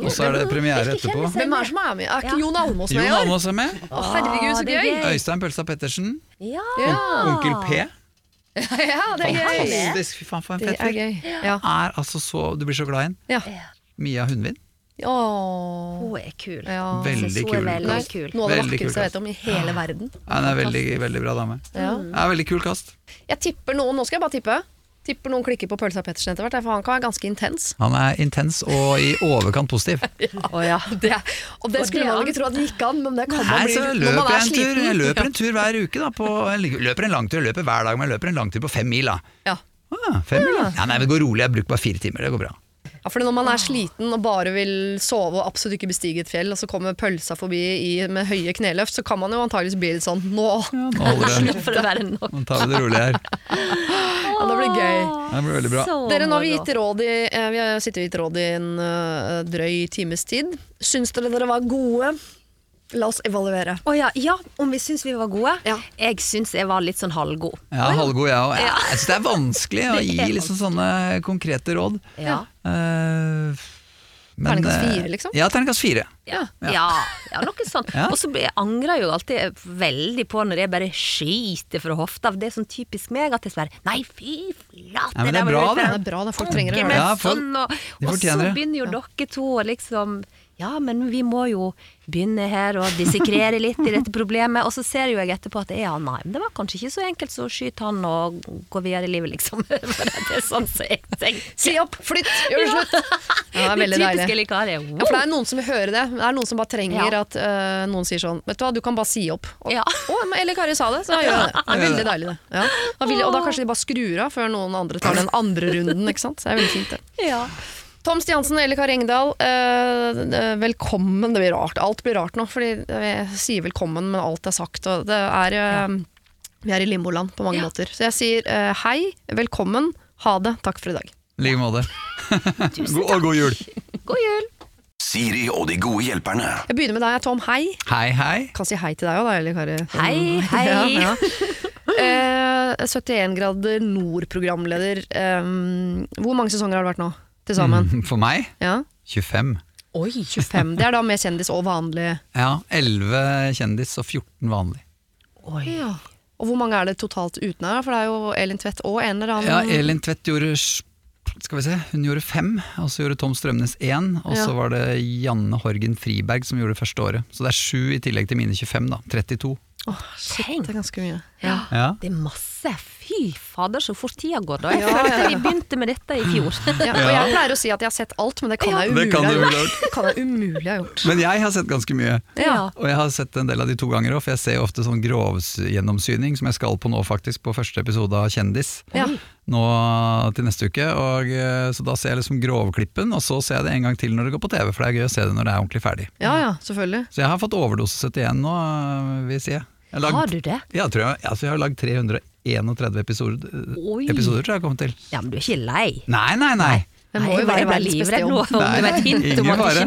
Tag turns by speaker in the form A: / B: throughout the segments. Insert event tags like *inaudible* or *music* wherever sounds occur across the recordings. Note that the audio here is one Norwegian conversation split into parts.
A: Og så er det premiere
B: Hvilke
A: etterpå.
B: kjendiser?
C: Hvem er det som er med? Er ikke
B: Ja.
C: Jon Almaas med
A: Jon
C: i år?
A: Almaas er med.
C: Å, herregud, så
B: det er
C: gøy!
B: gøy.
A: Øystein Pølsa Pettersen.
B: Ja.
A: On- Onkel P.
C: Ja, det er gøy!
A: Fantastisk. Fy faen, for en
C: Det
A: fet
C: er
A: fyr.
C: gøy. Ja.
A: Er altså så Du blir så glad i ham.
C: ja.
A: Mia Hundvin.
C: Åh.
B: Hun er kul.
C: Ja.
A: Veldig
B: hun
A: kul.
B: er veldig
A: kast.
B: kul.
C: Noe av det
A: Veldig kul
C: vakreste jeg vet om i hele verden.
A: Ja, Mm. Hun er veldig, veldig bra dame.
C: Ja.
A: Ja, veldig kul kast.
C: Jeg tipper noen, nå skal jeg bare tippe Tipper noen klikker på Pølsa Pettersen etter hvert, for han kan være ganske intens.
A: Han er intens og i overkant
C: *laughs*
A: positiv.
B: Å ja.
C: Det, og det
B: Og
C: skulle
B: det
C: man
B: er-
C: ikke tro at det gikk an, men det kan man
A: Nei,
C: bli
A: så
C: når man
A: løper
C: er
A: jeg en tur,
C: sliten.
A: jeg løper
C: *laughs*
A: en tur hver uke. Da, på, jeg løper en langtur, jeg løper hver dag, men jeg løper en langtur på fem mil. Da.
C: Ja.
A: Ah, fem mil? da? Ja, nei, men det går rolig, jeg bruker bare fire timer, det går bra.
C: Ja, for når man er sliten og bare vil sove og absolutt ikke bestige et fjell, og så kommer pølsa forbi i, med høye kneløft, så kan man jo antageligvis bli litt sånn Nå!
A: Ja, nå, holder det.
B: For å være nok.
A: nå tar vi det rolig her.
C: Ja, det blir gøy.
A: Det blir veldig bra.
B: Så
C: Dere, nå har vi
B: moro.
C: gitt råd i, eh, vi har sittet og gitt råd i en eh, drøy times tid. Syns dere dere var gode? La oss evaluere.
B: Å ja, ja, om vi syns vi var gode?
C: Ja.
B: Jeg syns jeg var litt sånn halvgod.
A: Ja, halvgod jeg òg. Jeg syns det er vanskelig å gi liksom sånne konkrete råd.
B: Ja.
A: Eh, men,
C: Terningkast
A: eh,
C: fire, liksom?
A: Ja, terningkast fire.
B: Ja, ja. ja noe sånt.
A: *laughs* Ja.
B: Og så blir- jeg angrer jeg jo alltid veldig på når jeg bare skyter fra hofta. Det er sånn typisk meg at jeg bare Nei, fy flate!
A: Ja, men det er
B: der var
A: bra, det.
B: litt
C: Den
B: sånn
C: er bra, den folk trenger å
B: funky,
C: høre.
B: men
A: Ja, folk-
B: sånn, og,
A: de
B: og
A: fortjener
B: så
A: det.
B: begynner jo dere to å liksom Ja, men vi må jo begynne her og dissekrere litt i dette problemet. Og så ser jo jeg etterpå at ja, nei, men det var kanskje ikke så enkelt, så skyt han og gå videre i livet, liksom. *laughs* For det er sånn som jeg tenker.
C: Si opp, *laughs* flytt, gjør det slutt! Ja, det er veldig
B: typiske
C: deilig.
B: likarer.
C: Ja, for det er noen som vil høre det. Det er noen som bare trenger
B: Ja.
C: at eh, noen sier sånn Vet du hva, du kan bare si opp. Og,
B: Ja.
C: *laughs* «Å, men Eller Kari sa det, så da gjør jeg det. Det er veldig deilig, det. Ja. Da vil, og da kanskje de bare skrur av før noen andre tar den andre runden, ikke sant. Så det er veldig fint, det.
B: Ja.
C: Tom Stiansen og Elle Kari Engdahl, eh, velkommen. Det blir rart. Alt blir rart nå, fordi jeg sier velkommen, men alt er sagt, og det er eh, Vi er i limboland på mange måter. Så jeg sier eh, hei, velkommen, ha det, takk for i dag.
A: I like måte. God, og god jul.
B: God jul!
D: Siri og de gode hjelperne.
C: Jeg begynner med deg, Tom. Hei.
A: Hei, hei.
C: kan si hei til deg òg, da, eller Kari?
B: *laughs* Hei, hei.
C: Ja, ja. Eh, 71 grader nord-programleder. eh, hvor mange sesonger har det vært nå til sammen?
A: For meg
C: Ja?
A: 25.
C: Oi, 25. Det er da med kjendis og vanlig.
A: Ja, 11 kjendis og 14 vanlig.
C: Ja. Og hvor mange er det totalt uten her? For det er jo Elin Tvedt og en eller annen
A: Ja, Elin Tvedt gjorde s- skal vi se, hun gjorde fem, og så gjorde Tom Strømnes én. Og så
C: Ja.
A: var det Janne Horgen Friberg som gjorde det første året. Så det er sju i tillegg til mine 25, da. 32.
B: Tenk.
C: Det er ganske mye.
B: Ja.
A: Ja.
B: Det er masse. Fy fader, så fort tida går, da. Jeg
C: Ja,
B: følte
C: ja, ja.
B: vi begynte med dette i fjor. *gasps* *laughs*
C: Ja, og jeg pleier å si at jeg har sett alt, men det kan jeg
A: det
C: umulig
A: kan
C: ha
A: du vel ha
C: gjort. Det *laughs* kan jeg umulig ha gjort.
A: Men jeg har sett ganske mye.
B: Ja.
A: Og jeg har sett en del av de to ganger òg, for jeg ser jo ofte sånn grovgjennomsyning, som jeg skal på nå faktisk, på første episode av Kjendis.
C: Ja.
A: Nå til neste uke, og eh, Så da ser jeg liksom grovklippen, og så ser jeg det en gang til når det går på TV, for det er gøy å se det når det er ordentlig ferdig.
C: Ja ja, selvfølgelig.
A: Så jeg har fått overdose 71 nå, øh, vil jeg si. Jeg har lagd-
B: Har du det?
A: Ja, tror jeg, altså jeg har lagd 331 episoder, øh,
B: Oi.
A: episoder, tror jeg jeg har kommet til.
B: Ja, men du er ikke lei?
A: Nei, nei, nei!
C: Det må
B: Nei,
C: jo være
B: jeg ble
C: verdens beste
B: livredd nå,
C: jobb.
B: om det var et hint om
A: ingen
B: at ikke
A: fare.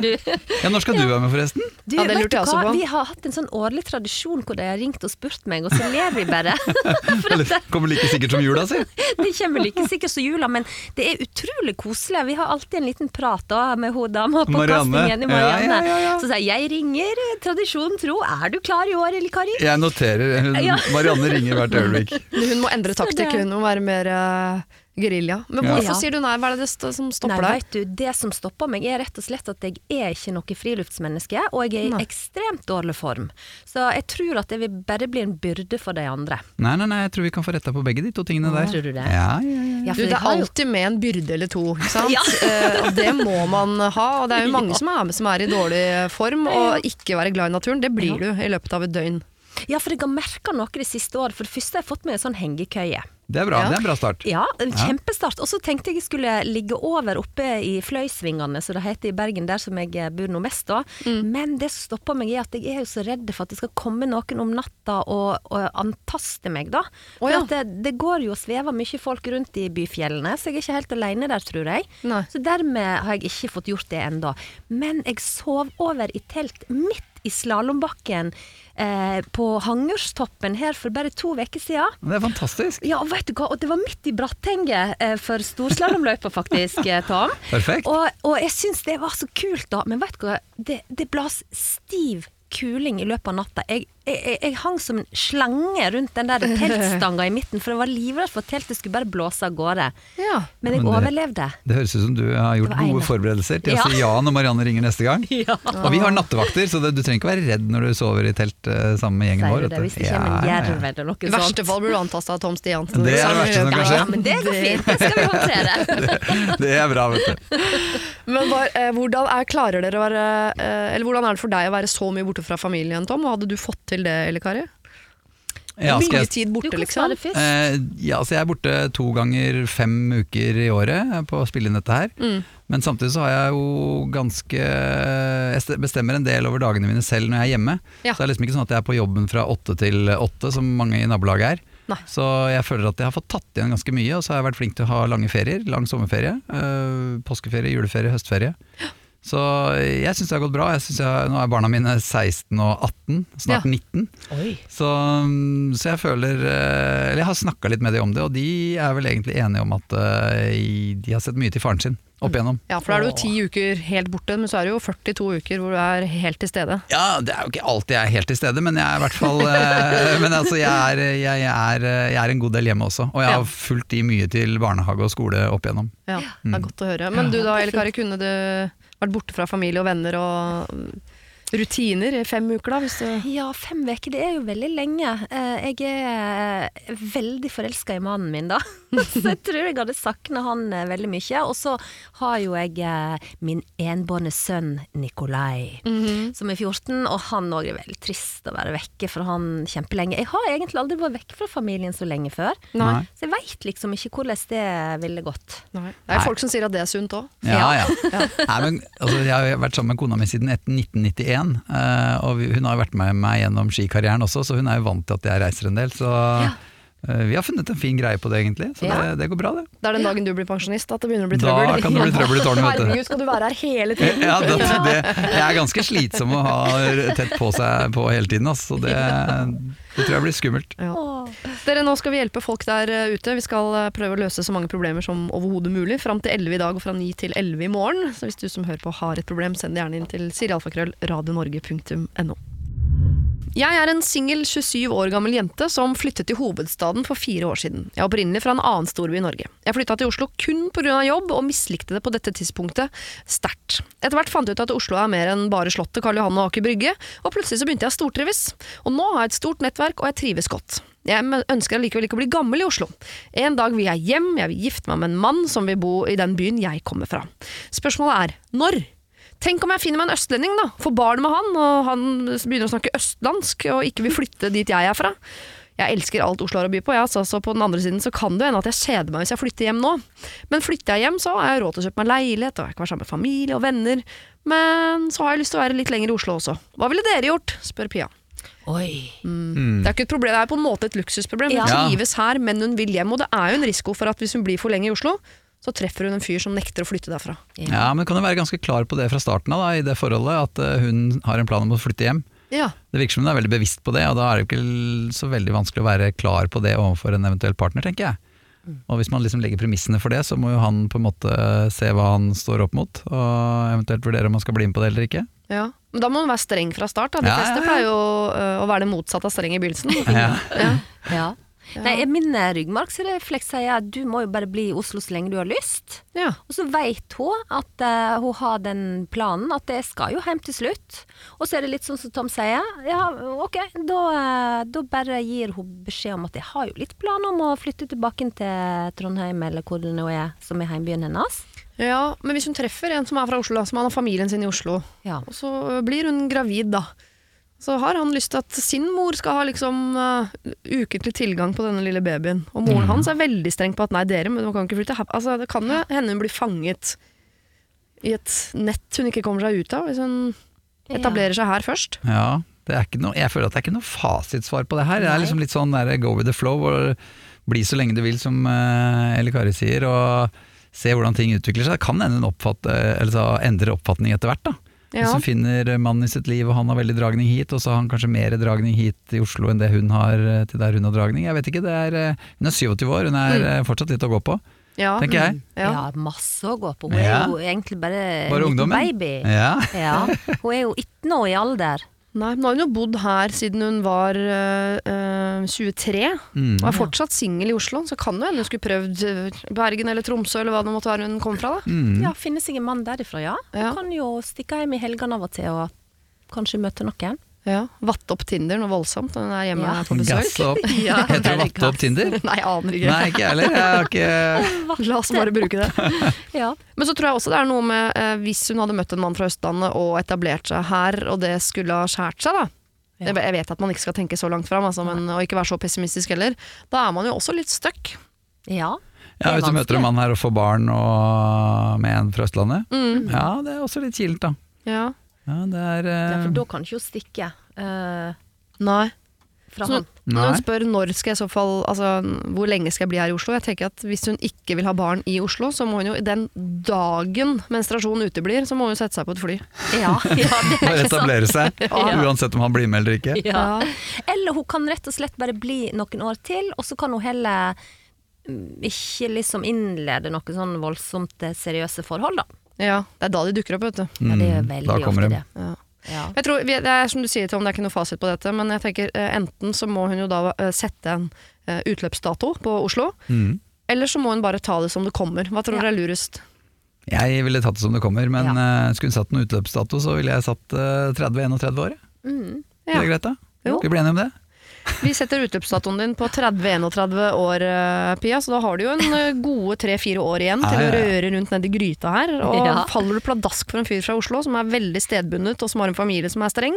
B: du
A: Ja, når skal du være med, forresten?
B: Du,
C: Ja, det
B: vet
C: lurte
B: du
C: jeg også
B: hva?
C: på.
B: Vi har hatt en sånn årlig tradisjon hvor de har ringt og spurt meg, og så ler vi bare. *laughs* *laughs* For at
A: Eller,
B: det,
A: kommer like sikkert som jula si.
B: det kommer like sikkert som jula, men det er utrolig koselig. Vi har alltid en liten prat da med hun dama på
A: Marianne.
B: kastingen i
A: Ja,
B: Marianne.
A: ja, ja, ja.
B: Så sier jeg 'jeg ringer, tradisjonen tro, er du klar i år, eller Kari?'
A: Jeg noterer. Hun,
B: Ja.
A: *laughs* Marianne ringer hvert øyeblikk.
C: Men Hun må endre taktikk, hun må være mer eh, gerilja. Men
A: Ja.
C: hvorfor sier du nei? Hva er det st- som stopper
B: Nei,
C: deg?
B: vet du, Det som stopper meg, er rett og slett at jeg er ikke noe friluftsmenneske, og jeg er i
C: Nei.
B: ekstremt dårlig form. Så jeg tror at jeg vil bare bli en byrde for de andre.
A: Nei, nei, nei, jeg tror vi kan få retta på begge de to tingene der.
B: Tror du det?
A: Ja, ja, ja.
B: Ja, for
C: Mm. Du, det
B: jeg
C: er
B: har jo-
C: alltid med en byrde eller to. Ikke sant?
B: Ja.
C: *laughs* Eh, og det må man ha. Og det er *laughs* jo mange som er med som er i dårlig form og ikke være glad i naturen. Det blir du i løpet av et døgn.
B: Ja, for jeg har merka noe det siste året. For det første har jeg fått meg en sånn hengekøye.
A: Det er bra,
C: Ja.
A: det er en bra start.
B: Ja, kjempestart. Og så tenkte jeg jeg skulle ligge over oppe i Fløysvingene, som det heter i Bergen, der som jeg eh, bor nå mest da.
C: Mm.
B: Men det som stopper meg, er at jeg er jo så redd for at det skal komme noen om natta og, og antaste meg, da. For
C: Å, ja.
B: at det, det går jo og svever mye folk rundt i byfjellene, så jeg er ikke helt alene der, tror jeg.
C: Nei.
B: Så dermed har jeg ikke fått gjort det ennå. Men jeg sov over i telt midt i slalåmbakken eh, på Hangørstoppen her for bare to uker siden.
A: Det er fantastisk.
B: Ja, og vet du hva? Og det var midt i Brattenget eh, for storslalåmløypa, faktisk, eh, Tom.
A: *laughs* Perfekt.
B: Og, og jeg syns det var så kult, da. Men vet du hva, det, det blas stiv kuling i løpet av natta. Jeg, jeg, jeg- jeg hang som en slange rundt den der teltstanga i midten, for jeg var livredd for at teltet skulle bare blåse av gårde.
C: Ja.
B: Men
A: Men
B: jeg
A: det-
B: overlevde.
C: *laughs*
A: Det høres ut som du har gjort
B: Det var
A: gode
B: egnet.
A: forberedelser til
B: Ja.
A: å si ja når Marianne ringer neste
B: *laughs*
A: gang. Og vi har nattevakter, så det, du trenger ikke være redd når du sover i telt eh, sammen med gjengen
B: Sier
A: vår.
B: du det,
A: vet du.
B: hvis det kommer en
A: Ja, ja, ja.
B: jerv eller noe
C: I
B: sånt.
C: verste fall blir du antasta av Tom Stiansen.
A: Det er det verste som kan
B: Ja,
A: skje.
B: ja, men det går fint. Det skal vi
C: *laughs*
B: håndtere.
A: *laughs* Det er bra, vet du.
C: Men var, eh, hvordan, er, klarer dere å være, eh, eller hvordan er det for deg å være så mye borte fra familien, Tom? Og hadde du fått til det, eller Kari?
A: Ja, skal
C: mye
A: jeg,
C: tid
B: Du
C: borte,
B: kan
C: liksom?
B: svare først.
A: eh, ja, så jeg er borte to ganger fem uker i året på å spille inn dette her.
C: Mm.
A: Men samtidig så har jeg jo ganske Jeg ste- bestemmer en del over dagene mine selv når jeg er hjemme.
C: Ja.
A: Så det er liksom ikke sånn at jeg er på jobben fra åtte til åtte, som mange i nabolaget er.
C: Nei.
A: Så jeg føler at jeg har fått tatt igjen ganske mye, og så har jeg vært flink til å ha lange ferier. Lang sommerferie, øh, påskeferie, juleferie, høstferie. Så jeg syns det har gått bra. Jeg synes jeg, nå er barna mine 16 og 18, snart
C: Ja.
A: 19. Så, mm, så jeg føler eh, Eller jeg har snakka litt med dem om det, og de er vel egentlig enige om at eh, de har sett mye til faren sin opp igjennom.
C: Ja, for da er det jo ti uker helt borte, men så er det jo 42 uker hvor du er helt til stede.
A: Ja, det er jo ikke alltid jeg er helt til stede, men jeg er i hvert fall eh, *laughs* Men altså, jeg er, jeg, jeg, er, eh, jeg er en god del hjemme også, og jeg
C: Ja.
A: har fulgt de mye til barnehage og skole opp igjennom.
C: Ja, Det
A: Mm.
C: er godt å høre. Men du da, Elle Kari, kunne du vært borte fra familie og venner og mm, rutiner i fem uker, da? Hvis du
B: Ja, fem uker, det er jo veldig lenge. Eh, Jeg er veldig forelska i mannen min, da. *laughs* Så jeg tror jeg hadde savna han eh, veldig mye. Og så har jo jeg eh, min enbårne sønn Nikolai, som er 14, og han òg er veldig trist å være vekke fra han kjempelenge. Jeg har egentlig aldri vært vekke fra familien så lenge før,
A: Nei.
B: så jeg veit liksom ikke hvordan det ville gått.
C: Nei. Det er folk som sier at det er sunt òg.
A: Ja, ja. Nei, men, altså, jeg har jo vært sammen med kona mi siden et- 1991, eh, og vi- hun har jo vært med meg gjennom skikarrieren også, så hun er jo vant til at jeg reiser en del. Så eh, vi har funnet en fin greie på det, egentlig. Så
B: Ja.
A: det, det går bra, det. *laughs*
C: Det er den dagen du blir pensjonist at det begynner å bli
A: Da
C: trøbbel.
A: kan det bli trøbbel i tårnet, vet du.
C: Herregud, skal du være her hele tiden?
A: Ja, det, det, jeg er ganske slitsom å ha tett på seg på hele tiden, altså, så det, det tror jeg blir skummelt.
C: Dere, nå skal vi hjelpe folk der eh, ute. Vi skal eh, prøve å løse så mange problemer som overhodet mulig. Fram til 11 i dag og fra 9 til 11 i morgen. Så hvis du som hører på har et problem, send det gjerne inn til sirialfakrøll.radionorge.no. Jeg er en singel 27 år gammel jente som flyttet til hovedstaden for fire år siden. Jeg er opprinnelig fra en annen storby i Norge. Jeg flytta til Oslo kun pga. jobb, og mislikte det på dette tidspunktet sterkt. Etter hvert fant jeg ut at Oslo er mer enn bare Slottet, Karl Johan og Aker Brygge, og plutselig så begynte jeg å stortrives. Og nå har jeg et stort nettverk, og jeg trives godt. Jeg men- ønsker allikevel ikke å bli gammel i Oslo. En dag vil jeg hjem, jeg vil gifte meg med en mann som vil bo i den byen jeg kommer fra. Spørsmålet er når? Tenk om jeg finner meg en østlending, da. Får barn med han, og han begynner å snakke østlandsk og ikke vil flytte dit jeg er fra. Jeg elsker alt Oslo har å by på, ja, så, så på den andre siden så kan det hende at jeg kjeder meg hvis jeg flytter hjem nå. Men flytter jeg hjem, så har jeg råd til å kjøpe meg leilighet, og jeg kan være sammen med familie og venner. Men så har jeg lyst til å være litt lenger i Oslo også. Hva ville dere gjort? spør Pia.
B: Oi.
C: Det er ikke et problem, det er på en måte et luksusproblem. Hun
A: Ja.
C: trives her, men hun vil hjem. Og det er jo en risiko for at hvis hun blir for lenge i Oslo, så treffer hun en fyr som nekter å flytte derfra.
A: Ja, men kan du være ganske klar på det fra starten av, da, i det forholdet, at eh, hun har en plan om å flytte hjem.
C: Ja.
A: Det virker som hun er veldig bevisst på det, og da er det jo ikke l- så veldig vanskelig å være klar på det overfor en eventuell partner, tenker jeg. Og hvis man liksom legger premissene for det, så må jo han på en måte se hva han står opp mot, og eventuelt vurdere om han skal bli med på det eller ikke.
C: Ja, men da må man være streng fra start. Da. De
A: Ja, ja,
C: fleste
A: ja.
C: pleier jo ø, å være det motsatte av streng i begynnelsen.
A: *laughs* Ja.
B: Ja. Nei, min eh, ryggmargsrefleks sier at du må jo bare bli i Oslo så lenge du har lyst.
C: Ja.
B: Og så veit hun at eh, hun har den planen, at jeg skal jo hjem til slutt. Og så er det litt sånn som Tom sier, ja ok, da, eh, da bare gir hun beskjed om at jeg har jo litt planer om å flytte tilbake til Trondheim eller hvor det nå er, som er heimbyen hennes.
C: ja, Men hvis hun treffer en som er fra Oslo, da, som han har familien sin i Oslo,
B: Ja.
C: og så ø, blir hun gravid, da. Så har han lyst til at sin mor skal ha liksom ø, ukentlig tilgang på denne lille babyen. Og
A: Mhm.
C: moren hans er veldig streng på at nei, dere men man kan ikke flytte her. Altså, det kan jo hende hun blir fanget i et nett hun ikke kommer seg ut av, hvis hun
B: Ja.
C: etablerer seg her først.
A: Ja, det er ikke noe, jeg føler at det er ikke noe fasitsvar på det her. Det er liksom litt sånn der, go with the flow, og bli så lenge du vil, som eh, Elle Kari sier, og se hvordan ting utvikler seg. Det kan hende en oppfatt, eh, eller så endre oppfatning etter hvert, da.
C: Ja.
A: Hvis hun finner mannen i sitt liv og han har veldig dragning hit, og så har han kanskje mer dragning hit i Oslo enn det hun har eh, til der hun har dragning. Jeg vet ikke, det er, eh, Hun er 27 år, hun er eh, fortsatt litt å gå på,
C: Mm. Ja.
A: tenker jeg.
C: Ja.
B: Mm. Ja, masse å gå på. Hun er
A: Ja.
B: jo egentlig bare,
A: Bare
B: en liten
A: ungdommen.
B: baby.
A: Ja.
B: Ja, Hun er jo 18 år i alder.
C: Nei, men nå har hun jo bodd her siden hun var øh, øh, 23,
A: Mm.
C: og er fortsatt singel i Oslo. Så kan det jo hende hun skulle prøvd øh, Bergen eller Tromsø eller hva det måtte være hun kom fra. da.
A: Mm.
B: Ja, Finne seg en mann derifra, ja. Hun
C: Ja.
B: kan jo stikke hjem i helgene av og til og kanskje møte noen.
C: Ja. Vatte opp Tinder noe voldsomt når hun er hjemme
B: Ja.
C: på besøk. *laughs*
A: Gasse opp. *laughs*
B: Ja,
A: Heter det
B: veldig
A: Vatte opp
B: gass.
A: Tinder?
C: Nei, jeg aner ikke.
A: Nei, ikke jeg heller. Jeg har ikke
C: La oss bare bruke det.
B: Ja.
C: Men så tror jeg også det er noe med eh, hvis hun hadde møtt en mann fra Østlandet og etablert seg her, og det skulle ha skjært seg, da.
B: Ja.
C: Jeg- Jeg vet at man ikke skal tenke så langt fram, altså, men, og ikke være så pessimistisk heller. Da er man jo også litt stuck.
A: Ja,
B: ja. Det er
A: Hvis du møter en
B: vanskelig.
A: mann her og får barn og med en fra Østlandet. Ja, det er også litt kilent, da.
C: Mm. Ja.
A: Ja, det er
B: ja,
A: eh,
B: for da kan ikke hun stikke eh,
C: Nei.
B: fra
C: Så
B: han.
A: Nei.
C: når hun spør når skal jeg i så fall, altså, hvor lenge skal jeg bli her i Oslo, jeg tenker at hvis hun ikke vil ha barn i Oslo, så må hun jo den dagen menstruasjonen uteblir, så må hun sette seg på et fly.
B: Ja, ja, det er
A: Bare
B: ikke sant.
A: etablere seg,
B: Ja.
A: uansett om han blir med eller ikke.
B: Ja. Eller hun kan rett og slett bare bli noen år til, og så kan hun heller mm, ikke liksom innlede noe sånn voldsomt eh, seriøse forhold, da.
C: Ja, det er da de dukker opp, vet du.
B: Ja, det er
A: Mm,
B: veldig
A: da kommer
B: ofte
A: de.
B: det.
C: Ja.
B: Ja.
C: Jeg tror, vi- det er som du sier Tom, det er ikke noe fasit på dette, men jeg tenker eh, enten så må hun jo da eh, sette en eh, utløpsdato på Oslo,
A: Mm.
C: eller så må hun bare ta det som det kommer. Hva tror
B: Ja.
C: dere er lurest?
A: Jeg ville tatt det som det kommer, men eh, skulle hun satt en utløpsdato, så ville jeg satt eh, 30-31 år.
B: Mm.
A: Ja. Er
C: Ja.
A: det greit, da?
C: Jo.
A: Skal vi bli enige om det?
C: Vi setter utløpsdatoen din på 30-31 år, eh, Pia, så da har du jo en eh, gode tre-fire år igjen til
A: Ja,
C: å
A: ja, ja.
C: røre rundt nedi gryta her. Og
B: Ja.
C: faller du pladask for en fyr fra Oslo som er veldig stedbundet, og som har en familie som er streng,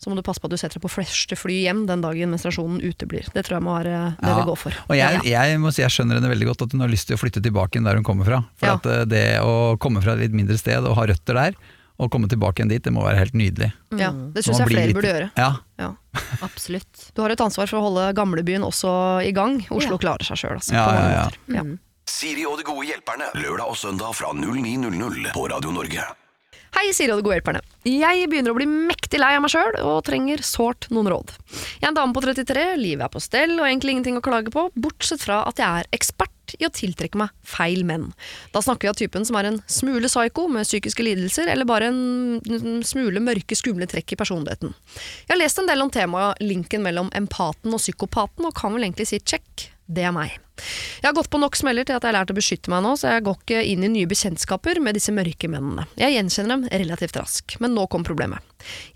C: så må du passe på at du setter deg på første fly hjem den dagen menstruasjonen uteblir. Det tror jeg må være eh, det
A: Ja.
C: vi går for.
A: Og jeg,
C: Ja.
A: jeg må si jeg skjønner henne veldig godt, at hun har lyst til å flytte tilbake igjen der hun kommer fra. For
C: Ja.
A: at eh, det å komme fra et litt mindre sted og ha røtter der, og komme tilbake igjen dit, det må være helt nydelig.
C: Ja, det syns
A: Man
C: jeg
A: blir
C: flere
A: litt-
C: burde gjøre.
A: Ja,
C: Ja.
B: Absolutt.
C: Du har et ansvar for å holde gamlebyen også i gang. Oslo klarer seg sjøl, altså.
A: Ja,
C: på mange
A: ja, ja.
C: måter. Ja.
D: Siri og de gode hjelperne. Lørdag og søndag fra 09.00 på Radio Norge.
C: Hei, Siri og de gode hjelperne. Jeg begynner å bli mektig lei av meg sjøl og trenger sårt noen råd. Jeg er en dame på 33, livet er på stell og egentlig ingenting å klage på, bortsett fra at jeg er ekspert i å tiltrekke meg feil menn. Da snakker vi av typen som er en smule psyko med psykiske lidelser, eller bare en mm, smule mørke, skumle trekk i personligheten. Jeg har lest en del om temaet linken mellom empaten og psykopaten, og kan vel egentlig si check, det er meg. Jeg har gått på nok smeller til at jeg har lært å beskytte meg nå, så jeg går ikke inn i nye bekjentskaper med disse mørke mennene. Jeg gjenkjenner dem relativt raskt, men nå kom problemet.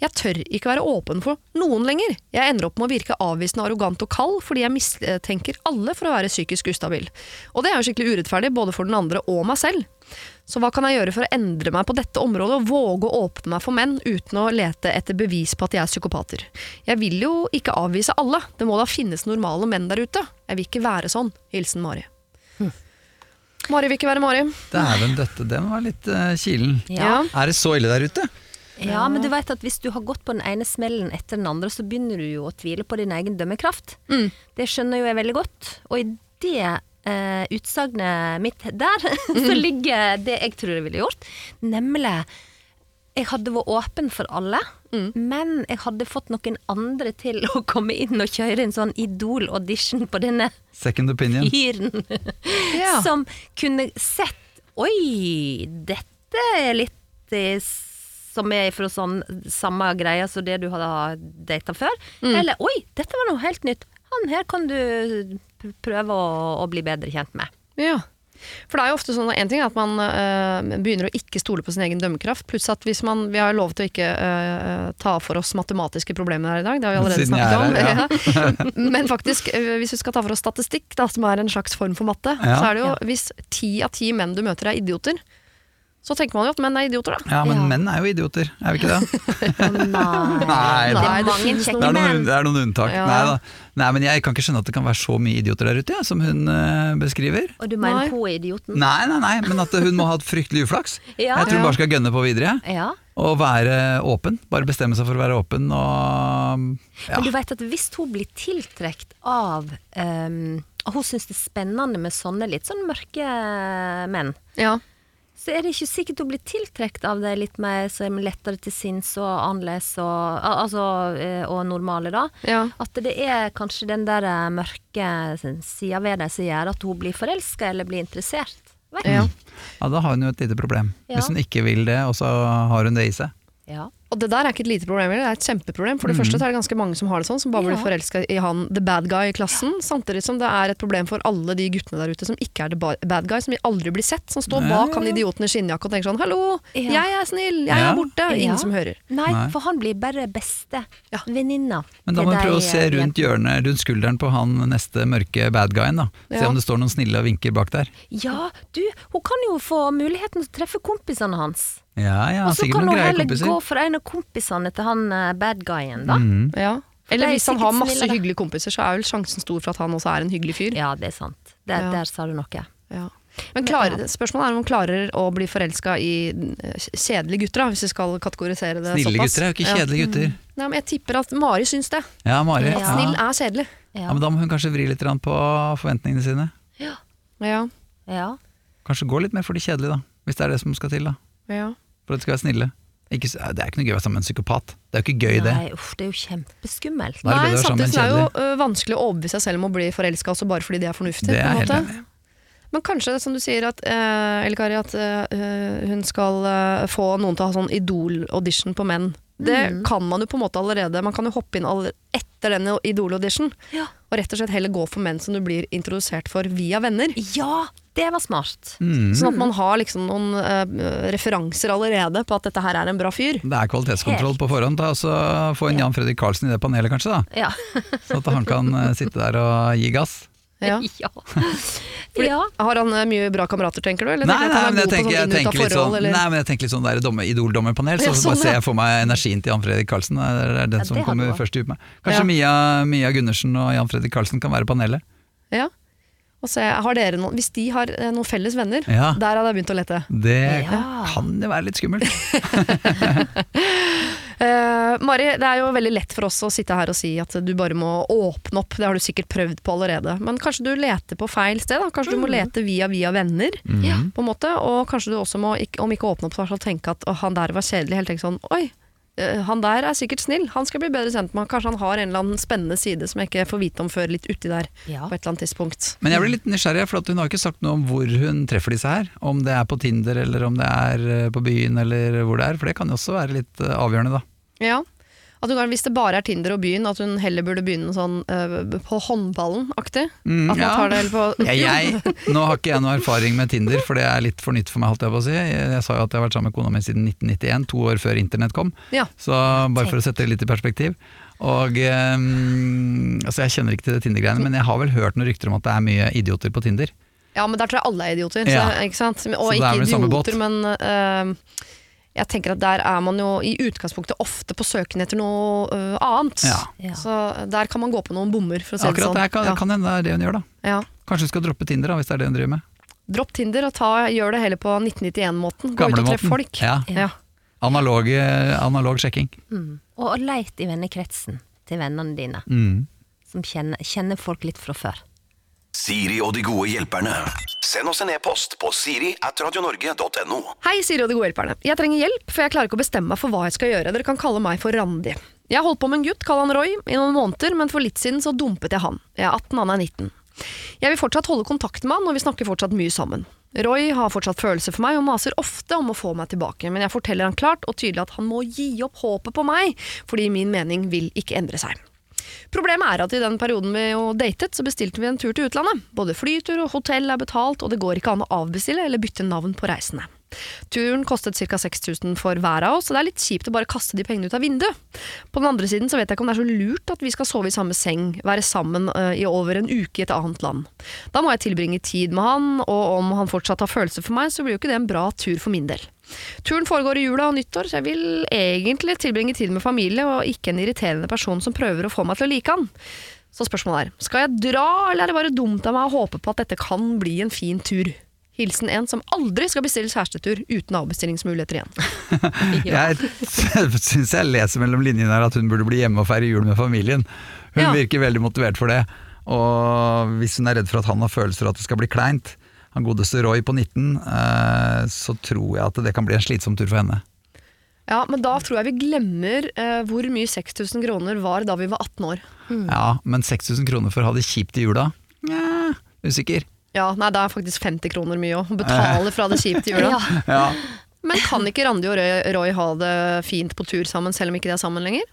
C: Jeg tør ikke være åpen for noen lenger. Jeg ender opp med å virke avvisende, arrogant og kald fordi jeg mistenker alle for å være psykisk ustabil. Og det er jo skikkelig urettferdig både for den andre og meg selv. Så hva kan jeg gjøre for å endre meg på dette området og våge å åpne meg for menn uten å lete etter bevis på at de er psykopater? Jeg vil jo ikke avvise alle, det må da finnes normale menn der ute. Jeg vil ikke være sånn. Hilsen Mari. Mari vil ikke være Mari.
A: dæven døtte, den var litt eh, kilen.
B: Ja.
A: Er det så ille der ute?
B: ja, men du vet at hvis du har gått på den ene smellen etter den andre, så begynner du jo å tvile på din egen dømmekraft. Det skjønner jo jeg veldig godt. Og i det eh, utsagnet mitt der, *laughs* så ligger det jeg tror jeg ville gjort, nemlig jeg hadde vært åpen for alle, men jeg hadde fått noen andre til å komme inn og kjøre en sånn Idol-audition på denne
A: Second
B: *laughs*
A: opinion.
B: fyren
C: Ja.
B: som kunne sett Oi, dette er litt eh, som er fra sånn samme greia som det du hadde data før.
C: Mm.
B: Eller oi, dette var noe helt nytt. Han her kan du p- prøve å, å bli bedre kjent
C: *laughs*
B: med.
C: Ja. For det er jo ofte sånn, En ting er at man øh, begynner å ikke stole på sin egen dømmekraft. Pluss at hvis man, Vi har jo lov til å ikke øh, ta for oss matematiske problemer her i dag. Det har vi allerede
A: Siden jeg er
C: snakket om. *laughs* Ja. Men faktisk, øh, hvis vi skal ta for oss statistikk, da, som er en slags form for matte,
A: Ja.
C: så er det jo hvis ti av ti menn du møter er idioter, så tenker man jo at menn er idioter, da.
A: Ja, men
B: Ja.
A: menn er jo idioter, er vi ikke
B: *laughs*
A: det?
B: nei.
A: Nei,
B: Det
A: det,
C: Nei,
B: er
C: det
B: mange
C: finnes
A: det,
B: kjekke
A: er noen,
B: menn.
A: det er noen unntak.
C: Ja.
A: Nei, da. Nei, men jeg kan ikke skjønne at det kan være så mye idioter der ute, jeg, som hun eh, beskriver.
B: Og du
C: Nei.
B: mener hun er idioten?
A: Nei, nei, nei, men at hun må ha hatt fryktelig uflaks.
B: *laughs* Ja.
A: Jeg tror hun bare skal gønne på videre. jeg.
B: Ja.
A: Og være åpen. Bare bestemme seg for å være åpen og ja.
B: Men du vet at hvis hun blir tiltrekt av ehm, og Hun syns det er spennende med sånne litt sånn mørke menn.
C: Ja.
B: så er det ikke sikkert hun blir tiltrukket av det litt mer som lettere til sinns og annerledes og, al- altså, eh, og normale, da.
C: Ja.
B: At det er kanskje den der eh, mørke sida ved det som gjør at hun blir forelska eller blir interessert. Vet du?
C: Ja.
A: Ja, da har hun jo et lite problem.
B: Ja.
A: Hvis hun ikke vil det, og så har hun det i seg.
B: Ja.
C: Og det der er ikke et lite problem, det er et kjempeproblem. For det første så er det ganske mange som har det sånn, som bare blir
B: Ja.
C: forelska i han the bad guy i klassen. Samtidig som det er et problem for alle de guttene der ute som ikke er the ba- bad guy, som aldri blir sett. Som står bak han idioten i skinnjakke og tenker sånn 'hallo,
B: Ja.
C: jeg er snill, jeg
A: Ja.
C: er borte'.
B: Ja.
C: Ingen som hører.
B: Nei,
A: Nei.
B: for han blir bare beste
C: Ja.
B: venninna.
A: Men da
B: til
A: må vi
B: de,
A: prøve å se
B: eh,
A: rundt hjørnet, rundt skulderen på han neste mørke bad guyen. da. Se
C: Ja.
A: om det står noen snille og vinker bak der.
B: Ja, du, hun kan jo få muligheten til å treffe kompisene hans.
A: Ja, ja,
B: Og så
A: sikkert
B: kan
A: noen
B: hun
A: greie
B: heller
A: kompiser.
B: gå for en av kompisene til han eh, bad guyen, da.
A: Mhm.
C: Ja.
B: Det er
C: Eller hvis
B: sikkert
C: han har
B: snille,
C: masse
B: da.
C: hyggelige kompiser, så er vel sjansen stor for at han også er en hyggelig fyr.
B: Ja, det er sant. Der,
C: Ja.
B: der sa du noe.
C: Ja. Men klarer, spørsmålet er om hun klarer å bli forelska i eh, kjedelige gutter, da, hvis vi skal kategorisere det
A: Snille
C: såpass.
A: gutter er jo ikke
C: Ja.
A: kjedelige gutter.
C: Nei, men jeg tipper at Mari syns det.
A: Ja, Mari.
B: Ja.
A: Ja.
C: Snill er kjedelig.
A: Ja, men da må hun kanskje vri litt grann på forventningene sine.
B: ja.
C: Ja,
B: ja.
A: Kanskje gå litt mer for de kjedelige, da. Hvis det er det som skal til, da.
C: ja.
A: For at de skal være snille. Ikke, s- det er ikke noe gøy å være sammen med en psykopat. Det er jo ikke gøy, det.
B: Nei, uff, det er jo
A: Da er
B: kjempeskummelt.
A: det
C: Nei,
A: bedre å være sammen
C: samtidig
A: med
C: så er
A: en
C: det jo ø, vanskelig å overbevise seg selv om å bli forelska også bare fordi de er fornuftige.
A: Det er
C: på en
A: helt
C: måte.
A: enig.
C: Men kanskje, som du sier, at, eh, eller Kari, at eh, hun skal eh, få noen til å ha sånn Idol-audition på menn. Det
A: Mhm.
C: kan man jo på en måte allerede. Man kan jo hoppe inn aller, etter denne Idol-audition.
B: Ja.
C: Og rett og slett heller gå for menn som du blir introdusert for via venner.
A: Mhm.
B: Ja, det var smart.
A: Mm.
C: Sånn at man har liksom noen eh, referanser allerede på at dette her er en bra fyr.
A: Det er kvalitetskontroll på forhånd. Da, og så få en Jan Fredrik Karlsen i det panelet, kanskje. da.
B: Ja.
A: Sånn at han kan eh, sitte der og gi gass.
C: Ja.
B: *laughs* ja.
C: Fordi,
B: ja.
C: Har han eh, mye bra kamerater, tenker du? Eller
A: Nei,
C: tenker du
A: nei,
C: at han er
A: men jeg
C: god på
A: tenker, jeg
C: sånn inn- ut av
A: tenker litt
C: forhold,
A: sånn,
C: eller?
A: nei, men jeg tenker litt sånn der domme, idol-dommerpanel, så
C: Ja,
A: bare
C: sånn,
A: ser
C: ja.
A: jeg for meg energien til Jan Fredrik Karlsen. Det er den som
B: Ja, det hadde
A: kommer
B: vært.
A: først ut med. Kanskje
C: Ja.
A: Mia, Mia Gundersen og Jan Fredrik Karlsen kan være panelet.
C: Ja. Og se, har dere noen, hvis de har eh, noen felles venner,
A: Ja.
C: der hadde jeg begynt å lete.
A: Det
B: Ja.
A: kan jo være litt skummelt.
C: Eh, Mari, det er jo veldig lett for oss å sitte her og si at du bare må åpne opp. Det har du sikkert prøvd på allerede. Men kanskje du leter på feil sted? Da. Kanskje du må lete via via venner?
B: Mm.
A: Mm.
C: på en måte, Og kanskje du også må, ikk- om ikke åpne opp, så i hvert fall tenke at «Å, han der var kjedelig. Helt tenke sånn oi, eh, han der er sikkert snill. Han skal bli bedre kjent med. Kanskje han har en eller annen spennende side som jeg ikke får vite om før litt uti der
B: Ja.
C: på et eller annet tidspunkt.
A: Men jeg blir litt nysgjerrig, for at hun har ikke sagt noe om hvor hun treffer disse her. Om det er på Tinder, eller om det er eh, på byen, eller hvor det er. For det kan jo også være litt eh, avgjørende, da.
C: Ja. At hun, kan- hvis det bare er Tinder og byen, at hun heller burde begynne sånn eh, på håndballen-aktig.
A: Mm,
C: at man
A: ja.
C: tar det eller på
A: Ja, *laughs* jeg, nå har ikke jeg noe erfaring med Tinder, for det er litt for nytt for meg. holdt Jeg på å si. Jeg jeg sa jo at jeg har vært sammen med kona mi siden 1991, to år før internett kom.
C: Ja.
A: Så bare for å sette det litt i perspektiv. Og ehm, altså Jeg kjenner ikke til det Tinder-greiene, men jeg har vel hørt noen rykter om at det er mye idioter på Tinder.
C: Ja, men der tror jeg alle er idioter.
A: Ja.
C: Så, ikke sant?
A: Så
C: Og
A: da
C: ikke
A: er vi i samme båt.
C: idioter, men eh, jeg tenker at der er man jo i utgangspunktet ofte på søken etter noe eh, annet.
A: Ja.
B: Ja.
C: Så der kan man gå på noen bommer, for å si det
A: Akkurat
C: sånn.
A: det her kan,
C: ja.
A: kan hende det er det hun gjør, da.
C: Ja.
A: Kanskje hun skal droppe Tinder, da, hvis det er det hun driver med.
C: Dropp Tinder og ta, gjør det heller på 1991-måten. Gå ut og
A: Gamlemåten.
C: treff folk.
A: Ja.
C: Ja.
A: Analog, analog sjekking.
B: Mm. Og, og leit i vennekretsen til vennene dine,
A: Mm.
B: som kjenner, kjenner folk litt fra før.
D: Siri og de gode hjelperne. Send oss en e-post på siri at radionorge.no.
C: Hei, Siri og de gode hjelperne. Jeg trenger hjelp, for jeg klarer ikke å bestemme meg for hva jeg skal gjøre. Dere kan kalle meg for Randi. Jeg holdt på med en gutt, kall han Roy, i noen måneder, men for litt siden så dumpet jeg han. Jeg er 18, han er 19. Jeg vil fortsatt holde kontakt med han, og vi snakker fortsatt mye sammen. Roy har fortsatt følelser for meg og maser ofte om å få meg tilbake, men jeg forteller han klart og tydelig at han må gi opp håpet på meg, fordi min mening vil ikke endre seg. Problemet er at i den perioden vi jo datet, så bestilte vi en tur til utlandet. Både flytur og hotell er betalt, og det går ikke an å avbestille eller bytte navn på reisene. Turen kostet ca. 6000 for hver av oss, så det er litt kjipt å bare kaste de pengene ut av vinduet. På den andre siden så vet jeg ikke om det er så lurt at vi skal sove i samme seng, være sammen eh, i over en uke i et annet land. Da må jeg tilbringe tid med han, og om han fortsatt har følelser for meg, så blir jo ikke det en bra tur for min del. Turen foregår i jula og nyttår, så jeg vil egentlig tilbringe tid med familie og ikke en irriterende person som prøver å få meg til å like han. Så spørsmålet er, skal jeg dra, eller er det bare dumt av meg å håpe på at dette kan bli en fin tur? Hilsen en som aldri skal bestille kjærestetur uten avbestillingsmuligheter igjen.
A: Jeg *laughs* syns jeg leser mellom linjene her at hun burde bli hjemme og feire jul med familien. Hun
C: Ja.
A: virker veldig motivert for det. Og hvis hun er redd for at han har følelser og at det skal bli kleint, han godeste Roy på 19, eh, så tror jeg at det kan bli en slitsom tur for henne.
C: Ja, men da tror jeg vi glemmer eh, hvor mye 6000 kroner var da vi var 18 år.
B: Mm.
A: Ja, Men 6000 kroner for å ha det kjipt i jula? Nja, usikker.
C: Ja, nei, det er faktisk 50 kroner mye òg. Betale fra det kjipt
B: *laughs*
C: i jula.
A: Ja.
C: Men kan ikke Randi og Roy, Roy ha det fint på tur sammen, selv om ikke de er sammen lenger?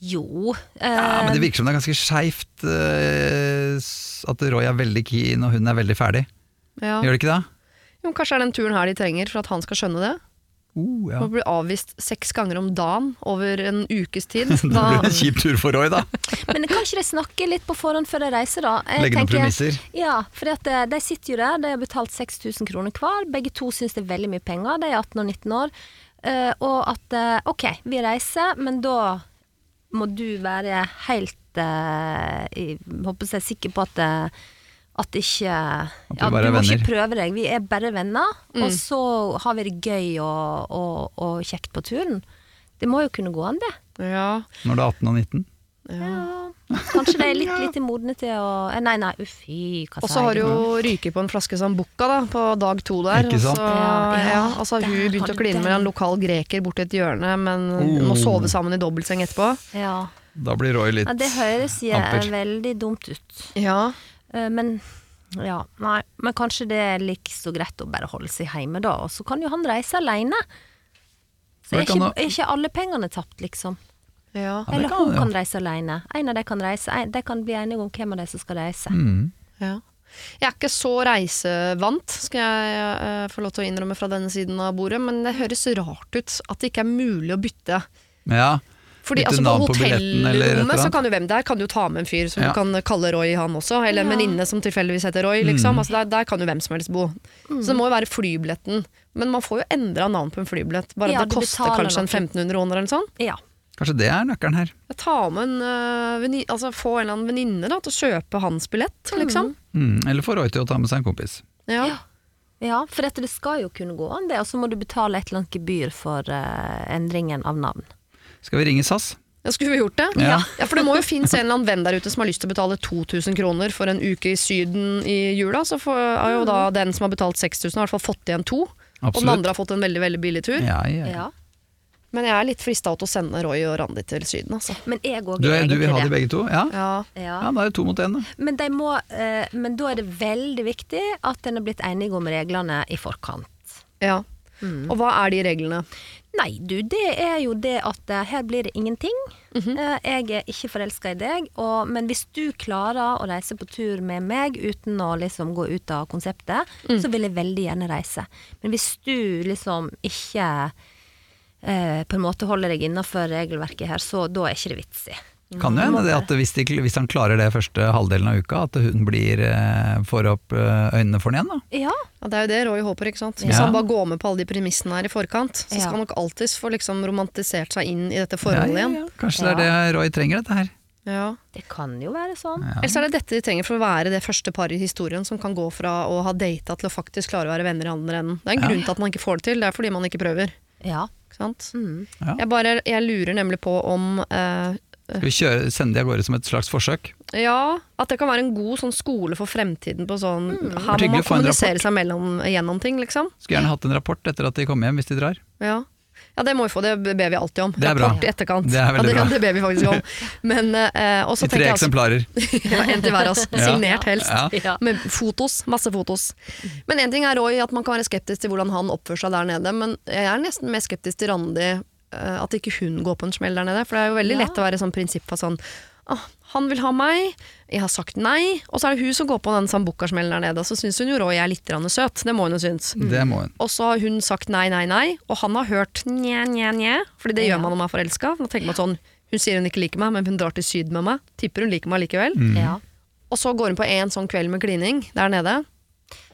B: Jo.
A: *laughs* Ja, men
B: eh,
A: Det virker som det er ganske skeivt eh, s- at Roy er veldig keen og hun er veldig ferdig.
C: Ja.
A: Gjør det ikke det?
C: Jo, kanskje det er den turen her de trenger for at han skal skjønne det?
A: Uh, ja.
C: Å bli avvist seks ganger om dagen over en ukes
A: *laughs*
C: tid.
A: Det
C: Da,
A: blir en kjip tur for Roy, da.
B: Eh, Men kan ikke de snakke litt på forhånd før de reiser, da? Jeg
A: Legge noen
B: Eh, tenker-
A: premisser.
B: Ja, for de sitter jo der, de har betalt 6000 kroner hver. Begge to syns det er veldig mye penger, de er 18 og 19 år. Eh, og at eh, ok, vi reiser, men da må du være helt eh, i- håper jeg sikker på at eh, at ikke
A: vi
B: ja,
A: bare
B: Du
A: er
B: må ikke
A: venner.
B: prøve deg, vi er bare venner.
C: Mm.
B: Og så har vi det gøy og, og, og kjekt på turen. Det må jo kunne gå an, det.
C: ja.
A: Når du er 18 og 19.
B: Ja, kanskje
A: *laughs*
B: de er litt lite modne til å eh, Nei, nei, uff, fy, hva
C: Og så har jo Ryke på en flaske Sambuca da, på dag to der.
A: Ikke sant?
C: Og så,
B: Ja, ja.
C: ja, og så har hun
B: Der
C: begynt
B: har
C: å
B: du
C: kline med
B: den.
C: en lokal greker borti et hjørne, men
A: Oh.
C: må sove sammen i dobbeltseng etterpå.
B: Ja.
A: Da blir Roy litt
B: ja, det høres je-
A: amper.
B: veldig dumt ut.
C: Ja.
B: Eh, Men ja, nei. Men kanskje det er like så greit å bare holde seg hjemme, da. Og så kan jo han reise alene. Så
A: Men
B: er
A: kan
B: ikke,
A: han-
B: er ikke alle pengene tapt, liksom.
C: Ja.
A: Ja, det
B: Eller
A: kan
B: hun
A: han, ja.
B: kan reise alene. En av de kan reise. En, de kan bli enige om hvem av de som skal reise.
A: Mm.
C: ja. Jeg er ikke så reisevant, skal jeg eh, få lov til å innrømme fra denne siden av bordet, men det høres rart ut at det ikke er mulig å bytte.
A: Ja.
C: Fordi
A: Bytte
C: altså, På
A: navn på billetten eller et eller
C: hotellrommet så
A: annet?
C: kan jo hvem det er, kan jo ta med en fyr som
A: Ja.
C: du kan kalle Roy, han også. Eller en
B: Ja.
C: venninne som tilfeldigvis heter Roy. Liksom.
A: Mm.
C: Altså, der, der kan jo hvem som helst bo.
B: Mm.
C: Så det må jo være flybilletten. Men man får jo endra navn på en flybillett. Bare
B: Ja,
C: det
B: du
C: koster
B: betaler
C: kanskje en
B: noe.
C: 1500 kroner eller sånn.
B: Ja.
A: Kanskje det er nøkkelen her.
C: Ta med en øh, veni- altså, få en eller annen venninne da, til å kjøpe hans billett, liksom.
A: Mm. Eller få Roy til å ta med seg en kompis.
C: Ja.
B: ja. For dette, det skal jo kunne gå an, det. Og så må du betale et eller annet gebyr for eh, endringen av navn.
A: Skal vi ringe SAS?
C: Ja, Skulle vi gjort det?
A: Ja.
C: ja, For det må jo finnes en eller annen venn der ute som har lyst til å betale 2000 kroner for en uke i Syden i jula. Så får, er jo da den som har betalt 6000, har i hvert fall fått igjen to. Og den
A: Absolutt.
C: andre har fått en veldig veldig billig tur.
A: Ja, ja. ja.
B: Ja.
C: Men jeg er litt frista til å sende Roy og Randi til Syden, altså.
B: Men jeg òg
A: Du, er- du
B: er egentlig
A: vil ha de
B: det.
A: begge to? Ja.
C: Ja.
B: Ja.
A: ja, da er det to mot én, da.
B: Men, de må, eh, men da er det veldig viktig at en er blitt enige om reglene i forkant.
C: ja.
A: Mm.
C: Og hva er de reglene?
B: Nei, du, det er jo det at eh, her blir det ingenting. Eh, Jeg er ikke forelska i deg, og, men hvis du klarer å reise på tur med meg uten å liksom gå ut av konseptet, så vil jeg veldig gjerne reise. Men hvis du liksom ikke eh, på en måte holder deg innafor regelverket her, så da er ikke det vits i.
A: Kan
C: Mm.
A: jo hende det at hvis, de, hvis han klarer det første halvdelen av uka, at hun blir, eh, får opp eh, øynene for den igjen. da.
B: Ja,
C: Ja, det er jo det Roy håper. ikke sant? Hvis
A: Ja.
C: han bare går med på alle de premissene her i forkant, så skal
B: Ja.
C: han nok alltids få liksom romantisert seg inn i dette forholdet
A: Ja,
C: igjen.
A: ja, ja. Kanskje det er det Roy trenger, dette her.
C: Ja.
B: det kan jo være sånn.
C: Ellers er det dette de trenger for å være det første paret i historien som kan gå fra å ha data til å faktisk klare å være venner i andre enden. Det er en grunn til at man ikke får det til, det er fordi man ikke prøver.
B: Ja. Mm.
C: Ikke sant?
A: Ja.
C: Jeg, bare, jeg lurer nemlig på om eh,
A: Skal vi kjøre, sende de av gårde som et slags forsøk?
C: Ja, at det kan være en god sånn skole for fremtiden på sånn Her
A: Mm. Det
C: må
A: var hyggelig
C: man
A: å få en
C: kommunisere
A: rapport.
C: seg mellom, gjennom ting, liksom.
A: Skulle gjerne hatt en rapport etter at de kommer hjem, hvis de drar.
C: Ja. ja, det må vi få. Det ber vi alltid om.
A: Det er bra.
C: Rapport i etterkant.
A: Det er
C: ja,
A: veldig
C: det,
A: bra.
C: Ja, det ber vi
A: *laughs*
C: faktisk om. Men, eh, og så
A: I tre
C: tenker jeg altså,
A: eksemplarer.
C: *laughs* ja, En til hver av oss. Signert helst.
A: Ja.
B: Ja.
C: Med fotos. Masse fotos. Men én ting er Roy, at man kan være skeptisk til hvordan han oppfører seg der nede, men jeg er nesten mer skeptisk til Randi, eh, at ikke hun går på en smell der nede. For det er jo veldig
B: Ja.
C: lett å være sånn prinsipp for sånn «Åh, han vil ha meg, jeg har sagt nei, og så er det hun som går på den sambuca-smellen der nede. Og så syns hun jo Roy er litt grann søt, det må hun jo synes.
A: *laughs* Det må hun.
C: Og så har hun sagt nei, nei, nei, og han har hørt nje, nje, nje. Fordi det gjør man når man er forelska. Da tenker man sånn, hun sier hun ikke liker meg, men hun drar til syd med meg. Tipper hun liker meg likevel.
B: ja.
C: Og så går hun på en sånn kveld med klining der nede.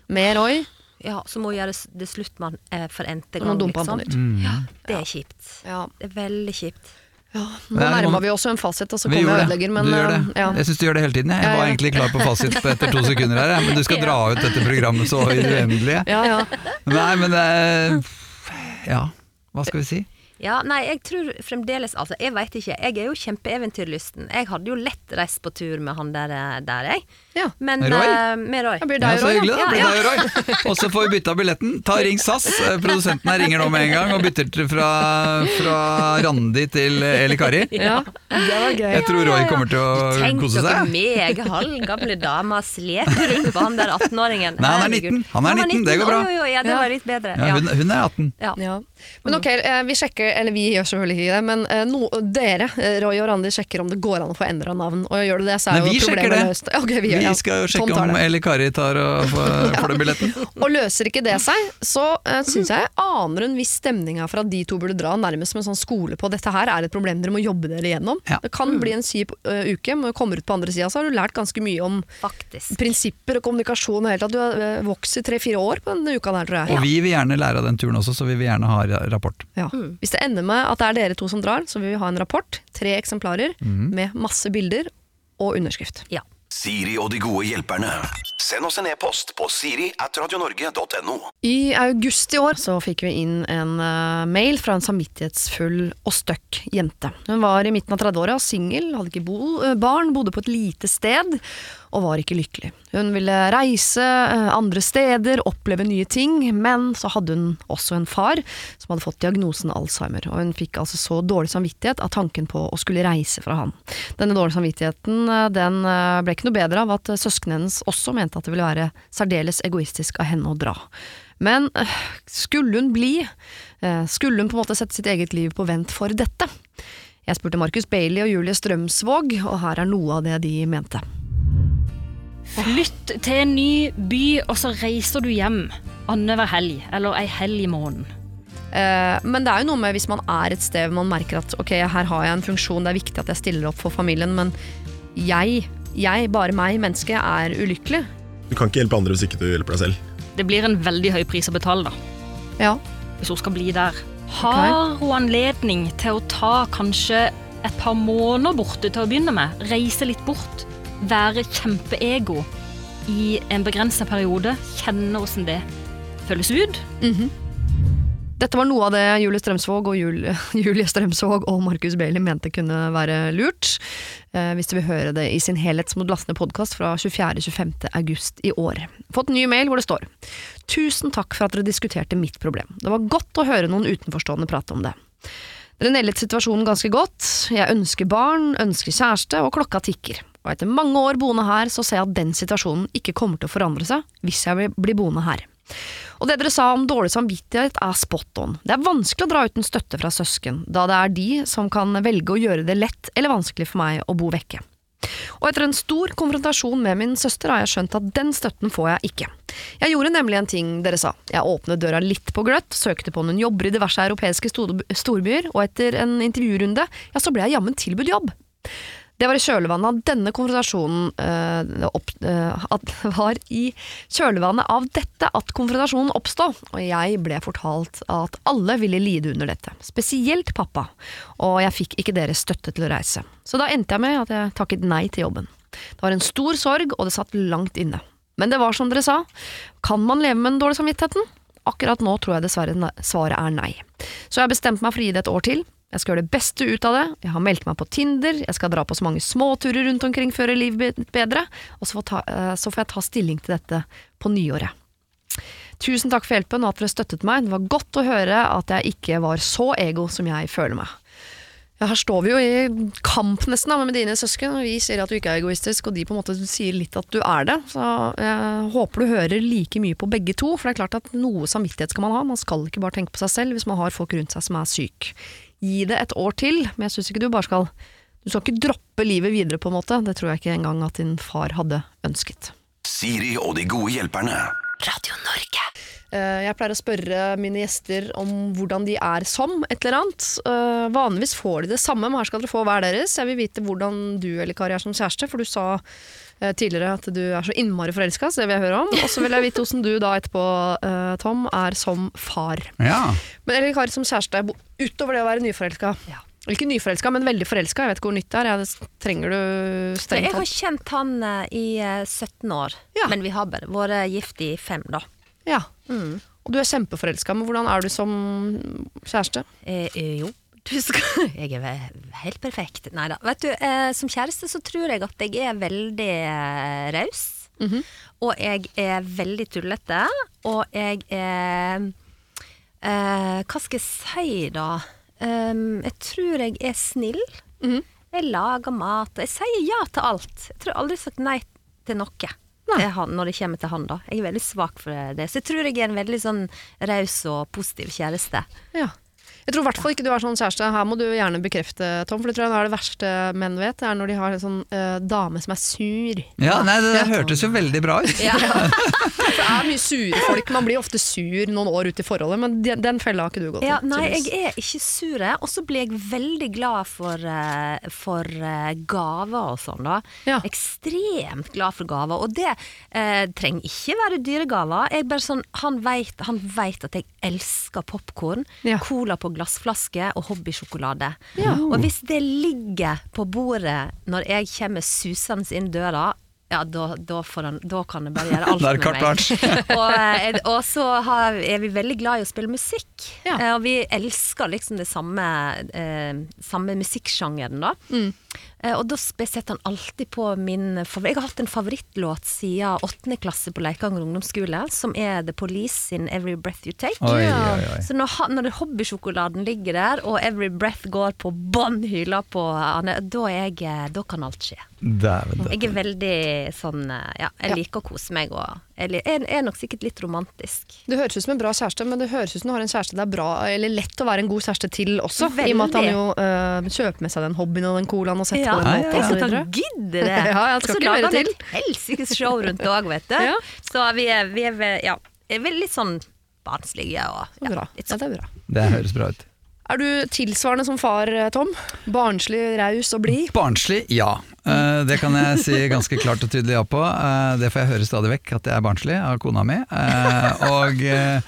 C: Med Roy.
B: Ja, så må hun gjøre s- det slutt med han eh, for n-te
C: Og
B: gang.
C: nå dumper han på nytt.
A: Mm.
B: Ja, det er kjipt.
C: Ja.
B: Det er veldig kjipt.
C: Nå
A: Nei,
C: nærma
A: man-
C: vi oss en fasit, og så
A: Vi
C: kommer jeg og
A: gjorde det.
C: ødelegger, men
A: du gjør det.
C: eh, ja.
A: Jeg syns du gjør det hele tiden. Jeg, jeg
C: Ja,
A: var
C: ja.
A: egentlig klar på fasit på etter to sekunder her, jeg, men du
C: *laughs*
A: skal dra ut dette programmet så i det uendelige.
C: Ja, ja.
A: Nei, men eh, Ja, hva skal vi si?
B: Ja, nei, jeg tror fremdeles Altså, jeg veit ikke. Jeg er jo kjempeeventyrlysten. Jeg hadde jo lett reist på tur med han der, eh, der jeg.
C: Ja.
B: Men,
A: Med Roy?
B: eh, med Roy.
C: Det blir
A: Ja,
C: deg,
A: så
C: Roy.
A: hyggelig,
C: da.
A: da. Blir
B: Ja,
A: deg og Roy.
C: *laughs*
A: Og så får vi bytta billetten. Ta Ring SAS. Eh, Produsenten her ringer nå med en gang og bytter til fra, fra Randi til eh, Eli Kari.
C: Ja. Det var gøy.
A: Jeg tror Roy kommer til å
B: Tenk
A: kose
B: dere
A: seg.
B: meg, halv gamle dama, sleper rundt på han der 18-åringen.
A: Nei, han er
B: Herregud.
A: 19. Han er 19, det går bra.
B: Oi, oi, oi, ja, det
C: Ja.
B: var litt bedre.
A: Ja,
B: Ja.
A: hun, hun er 18.
B: Ja.
C: Ja. Men ok, eh, vi sjekker, eller vi gjør selvfølgelig ikke det, men eh, no, dere, eh, Roy og Randi, sjekker om det går an å få endra navn. Og gjør det det, så er
A: Nei, vi
C: jo
A: sjekker
C: problemet
A: det.
C: løst. Ok, vi,
A: Vi
C: gjør, ja.
A: skal jo
C: Sånn
A: sjekke
C: tar
A: om
C: det.
A: Eli Kari tar og
C: *laughs*
A: får, får den billetten.
C: Og løser ikke det seg, så uh, syns jeg aner en viss stemning her for at de to burde dra nærmest som en sånn skole på dette her er et problem dere må jobbe dere gjennom.
A: Ja.
C: Det kan bli en kjip eh, uke, men kommer ut på andre sida så har du lært ganske mye om
B: Faktisk.
C: prinsipper og kommunikasjon og hele tatt. Du har eh, vokst i tre-fire år på denne uka der, tror jeg.
A: Og vi vil gjerne lære av den turen også, så vi vil gjerne ha ra- rapport.
C: Ja. Hvis det ender med at det er dere to som drar, så vil vi ha en rapport, tre eksemplarer,
A: Mm.
C: med masse bilder og underskrift.
B: Ja.
D: Siri og de gode hjelperne. Send oss en e-post på siri at radionorge.no.
C: I august i år så fikk vi inn en eh, mail fra en samvittighetsfull og støkk jente. Hun var i midten av 30-åra, singel, hadde ikke bo eh, barn, bodde på et lite sted og var ikke lykkelig. Hun ville reise eh, andre steder, oppleve nye ting, men så hadde hun også en far som hadde fått diagnosen Alzheimer, og hun fikk altså så dårlig samvittighet av tanken på å skulle reise fra han. Denne dårlige samvittigheten eh, den eh, ble ikke noe bedre av at eh, søsknene hennes også mente at det ville være særdeles egoistisk av henne å dra. Men øh, skulle hun bli? Eh, Skulle hun på en måte sette sitt eget liv på vent for dette? Jeg spurte Markus Bailey og Julie Strømsvåg, og her er noe av det de mente.
E: Flytt til en ny by, og så reiser du hjem annenhver helg, eller ei helg i måneden.
C: Eh, Men det er jo noe med hvis man er et sted hvor man merker at ok, her har jeg en funksjon, det er viktig at jeg stiller opp for familien, men jeg, jeg, bare meg, mennesket, er ulykkelig.
F: Du kan ikke hjelpe andre hvis ikke du hjelper deg selv.
E: Det blir en veldig høy pris å betale, da,
C: Ja.
E: hvis hun skal bli der. Har hun anledning til å ta kanskje et par måneder borte til å begynne med? Reise litt bort? Være kjempeego i en begrensa periode? Kjenne åssen det føles ut?
C: Dette var noe av det Julie Strømsvåg og, Jul *laughs* Julie Strømsvåg og Markus Bailey mente kunne være lurt. Eh, hvis du vil høre det i sin helhet, så må du laste ned podkast fra 24.-25. august i år. Fått en ny mail hvor det står Tusen takk for at dere diskuterte mitt problem. Det var godt å høre noen utenforstående prate om det. Dere nailet situasjonen ganske godt. Jeg ønsker barn, ønsker kjæreste, og klokka tikker. Og etter mange år boende her, så ser jeg at den situasjonen ikke kommer til å forandre seg hvis jeg blir- blir boende her. Og det dere sa om dårlig samvittighet er spot on. Det er vanskelig å dra uten støtte fra søsken, da det er de som kan velge å gjøre det lett eller vanskelig for meg å bo vekke. Og etter en stor konfrontasjon med min søster har jeg skjønt at den støtten får jeg ikke. Jeg gjorde nemlig en ting dere sa. Jeg åpnet døra litt på gløtt, søkte på noen jobber i diverse europeiske stor- storbyer, og etter en intervjurunde, ja, så ble jeg jammen tilbudt jobb. Det var i kjølvannet av denne konfrontasjonen eh, opp, eh, at det var i kjølvannet av dette at konfrontasjonen oppstod, og jeg ble fortalt at alle ville lide under dette, spesielt pappa, og jeg fikk ikke deres støtte til å reise. Så da endte jeg med at jeg takket nei til jobben. Det var en stor sorg, og det satt langt inne. Men det var som dere sa, kan man leve med den dårlige samvittigheten? Akkurat nå tror jeg dessverre ne- svaret er nei. Så jeg har bestemt meg for å gi det et år til. Jeg skal gjøre det beste ut av det. Jeg har meldt meg på Tinder, jeg skal dra på så mange småturer rundt omkring før livet blir bedre, og så får, ta, eh, så får jeg ta stilling til dette på nyåret. Tusen takk for hjelpen og at dere støttet meg. Det var godt å høre at jeg ikke var så ego som jeg føler meg. Ja, her står vi jo i kamp nesten da, med dine søsken, og vi sier at du ikke er egoistisk, og de på en måte sier litt at du er det. Så jeg håper du hører like mye på begge to, for det er klart at noe samvittighet skal man ha. Man skal ikke bare tenke på seg selv hvis man har folk rundt seg som er syk. Gi det et år til, men jeg syns ikke du bare skal Du skal ikke droppe livet videre, på en måte. Det tror jeg ikke engang at din far hadde ønsket.
D: Siri og de gode hjelperne.
C: Eh, Jeg pleier å spørre mine gjester om hvordan de er som et eller annet. Eh, Vanligvis får de det samme, men her skal dere få hver deres. Jeg vil vite hvordan du eller Kari er som kjæreste, for du sa eh, tidligere at du er så innmari forelska, så det vil jeg høre om. Og så vil jeg vite hvordan du da etterpå, eh, Tom, er som far.
A: Ja.
C: Men eller Kari som kjæreste, bo- utover det å være nyforelska. Ikke nyforelska, men veldig forelska. Jeg vet ikke hvor nytt det er. Jeg, trenger du
B: Så jeg
C: strengt
B: har
C: tatt?
B: kjent han eh, i eh, 17 år,
C: Ja.
B: men vi har bare vært gift i fem, da.
C: Ja.
B: Mm.
C: Og du er kjempeforelska, men hvordan er du som kjæreste?
B: Eh, eh, jo, du skal *laughs* Jeg er ve- helt perfekt. Nei da. Vet du, eh, som kjæreste så tror jeg at jeg er veldig eh, raus. Og jeg er veldig tullete. Og jeg er eh, Hva skal jeg si, da? Um, jeg tror jeg er snill. Jeg lager mat. og Jeg sier ja til alt. Jeg tror aldri jeg har sagt nei til noe. til han- Når det kommer til han, da. Jeg er veldig svak for det. Så jeg tror jeg er en veldig sånn raus og positiv kjæreste.
C: Ja. Jeg tror i hvert fall ikke du er sånn kjæreste. Her må du gjerne bekrefte, Tom, for det tror jeg er det verste menn vet. Det er når de har en sånn eh, dame som er sur. *laughs*
A: Ja, nei, det, hørtes jo veldig bra ut.
C: For det er mye sure folk. Man blir ofte sur noen år ut i forholdet, men den, den fella har ikke du gått
B: Ja,
C: i,
B: nei,
C: tydeligvis.
B: jeg er ikke sur, jeg. og så blir jeg veldig glad for, eh, for eh, gaver og sånn, da.
C: Ja.
B: Ekstremt glad for gaver, og det eh, trenger ikke være dyre gaver. Jeg bare sånn, han vet, han vet at jeg elsker popkorn,
C: Ja.
B: cola på glassflaske og hobbysjokolade.
C: Ja.
B: Og hvis det ligger på bordet når jeg kommer susende inn døra, ja, da, da, får han, da kan jeg bare gjøre alt
A: Da er
B: med
A: det
B: meg.
A: carte
B: og, eh, og så har, er vi veldig glad i å spille musikk.
C: Ja.
B: Eh, Og vi elsker liksom det samme, eh, samme musikksjangeren, da. Eh, og da sp- setter han alltid på min favoritt. Jeg har hatt en favorittlåt siden åttende klasse på Leikanger ungdomsskole, som er The Police sin 'Every Breath You Take'.
A: Oi, oi, oi.
B: Så når, han- når det- hobbysjokoladen ligger der, og 'Every Breath' går på bånn hyla på Anne, da, er jeg, eh, da kan alt skje.
A: Dæven.
B: Jeg er veldig sånn eh, Ja, jeg liker å kose meg og jeg li- jeg er nok sikkert litt romantisk.
C: Du høres ut som en bra kjæreste, men det høres ut som du har en kjæreste det er bra, eller lett å være en god kjæreste til også. I og med at han
B: Veldig.
C: jo øh, kjøper med seg den hobbyen og den colaen og setter
B: Ja,
C: på den
B: tenk
C: låta.
B: at
C: og så
B: han
C: videre.
B: gidder det! *laughs*
C: Ja,
B: og
C: jeg skal
B: så
C: ikke
B: lager
C: gjøre
B: han
C: til.
B: et helsikes show rundt det òg, *laughs* vet du.
C: Ja.
B: Så vi er, vi er ve- ja, er vel litt sånn barnslige og
C: Så bra.
B: ja, litt
C: Ja,
B: sånn.
C: det er bra.
A: Det høres bra ut.
C: Er du tilsvarende som far, eh, Tom? Barnslig, raus og blid?
A: Barnslig, ja. Eh, det kan jeg si ganske klart og tydelig ja på. Eh, det får jeg høre stadig vekk, at jeg er barnslig av kona mi. Eh, og eh,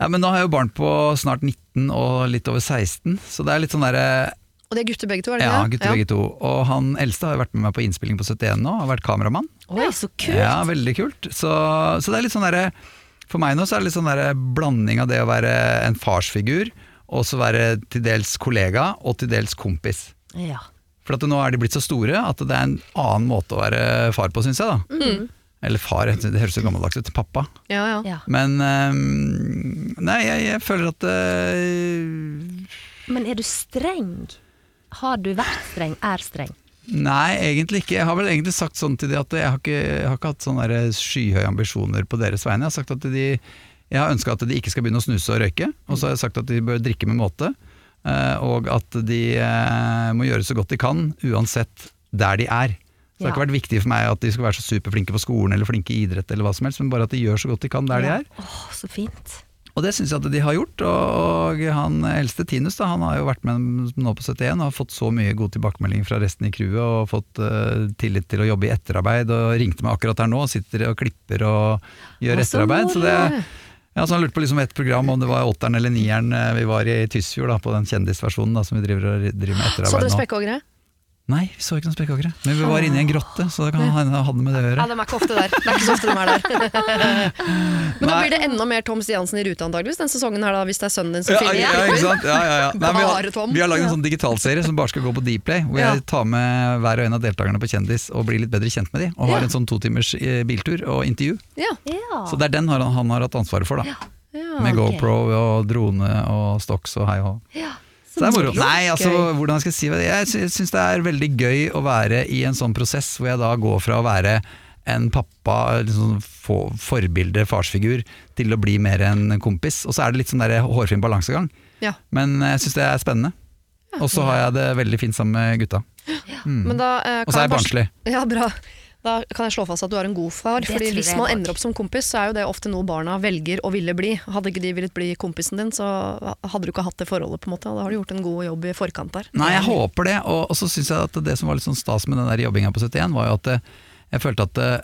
A: ja, Men nå har jeg jo barn på snart 19 og litt over 16, så det er litt sånn derre
C: Og det er gutter begge to, er det
A: Ja,
C: ikke det?
A: gutter begge to. Og han eldste har jo vært med meg på innspilling på 71 nå, har vært kameramann.
B: Oi, så kult!
A: Ja, veldig kult. Så, så det er litt sånn derre For meg nå så er det litt sånn derre blanding av det å være en farsfigur, og så være til dels kollega, og til dels kompis.
B: Ja.
A: For at nå er de blitt så store at det er en annen måte å være far på, syns jeg. da. Eller far, det høres så gammeldags ut. Pappa.
C: Ja, ja.
B: ja.
A: Men ehm, Nei, jeg, jeg føler at eh,
B: Men er du streng? Har du vært streng? Er streng?
A: Nei, egentlig ikke. Jeg har vel egentlig sagt sånn til de at jeg har ikke, jeg har ikke hatt sånne der skyhøye ambisjoner på deres vegne. Jeg har sagt at de Jeg har ønska at de ikke skal begynne å snuse og røyke, og så har jeg sagt at de bør drikke med måte. eh, Og at de eh, må gjøre så godt de kan, uansett der de er. Så Det har
B: Ja.
A: ikke vært viktig for meg at de skal være så superflinke på skolen eller flinke i idrett, eller hva som helst, men bare at de gjør så godt de kan der de er.
B: Åh, så fint.
A: Og det syns jeg at de har gjort. Og, og han eldste Tinus da, han har jo vært med nå på 71 og har fått så mye god tilbakemelding fra resten i crewet og fått eh, tillit til å jobbe i etterarbeid. Og ringte meg akkurat her nå, sitter og klipper og gjør
B: Å, så
A: etterarbeid. Så det,
B: moro.
A: ja, så han lurte på liksom et program om det var åtteren eller nieren eh, vi var i Tysfjord, da, på den kjendisversjonen da, som vi driver, og driver med
C: Så
A: etterarbeid
C: dere
A: nå.
C: spekkhoggere?
A: Nei, vi så ikke noen spekkhoggere. Men vi var inne i en grotte, så det kan hende det hadde med det å
C: Ja,
A: gjøre.
C: de er ikke ofte der. Det er ikke så ofte de er der. *laughs* Men da
A: Nei.
C: blir det enda mer Tom Stiansen i rute antageligvis den sesongen her, da, hvis det er sønnen din som filmer.
A: Ja, ja, ikke sant? Ja, ja, ja. Nei, vi,
C: Bare
A: har,
C: Tom.
A: vi har lagd en sånn digitalserie som bare skal gå på Dplay, hvor
C: Ja.
A: jeg tar med hver og en av deltakerne på Kjendis og blir litt bedre kjent med de, og
C: Ja.
A: har en sånn to timers eh, biltur og intervju.
C: Ja.
B: Ja.
A: Så det er den har han, han har hatt ansvaret for, da.
C: Ja.
A: Med
B: ok.
A: GoPro og drone og stocks og hei og hå.
B: ja.
A: Så det er moro. Nei, altså,
C: Gøy.
A: hvordan skal jeg si det? Jeg sy- syns det er veldig gøy å være i en sånn prosess hvor jeg da går fra å være en pappa, liksom få- forbilde, farsfigur, til å bli mer en kompis. Og så er det litt sånn der hårfin balansegang.
C: Ja.
A: Men jeg syns det er spennende. Og så har jeg det veldig fint sammen med gutta.
C: Men da, eh,
A: Mm. Og så er
C: kan
A: jeg
C: bare-
A: barnslig.
C: Ja, bra. Da kan jeg slå fast at du er en god far. Fordi
B: tror
C: Hvis
B: jeg
C: man
B: nok.
C: ender opp som kompis, så er jo det ofte noe barna velger å ville bli. Hadde ikke de villet bli kompisen din, så hadde du ikke hatt det forholdet. på en måte og Da har du gjort en god jobb i forkant der.
A: Nei, jeg håper det. Og, og så syns jeg at det som var litt sånn stas med den der jobbinga på 71, var jo at eh, jeg følte at eh,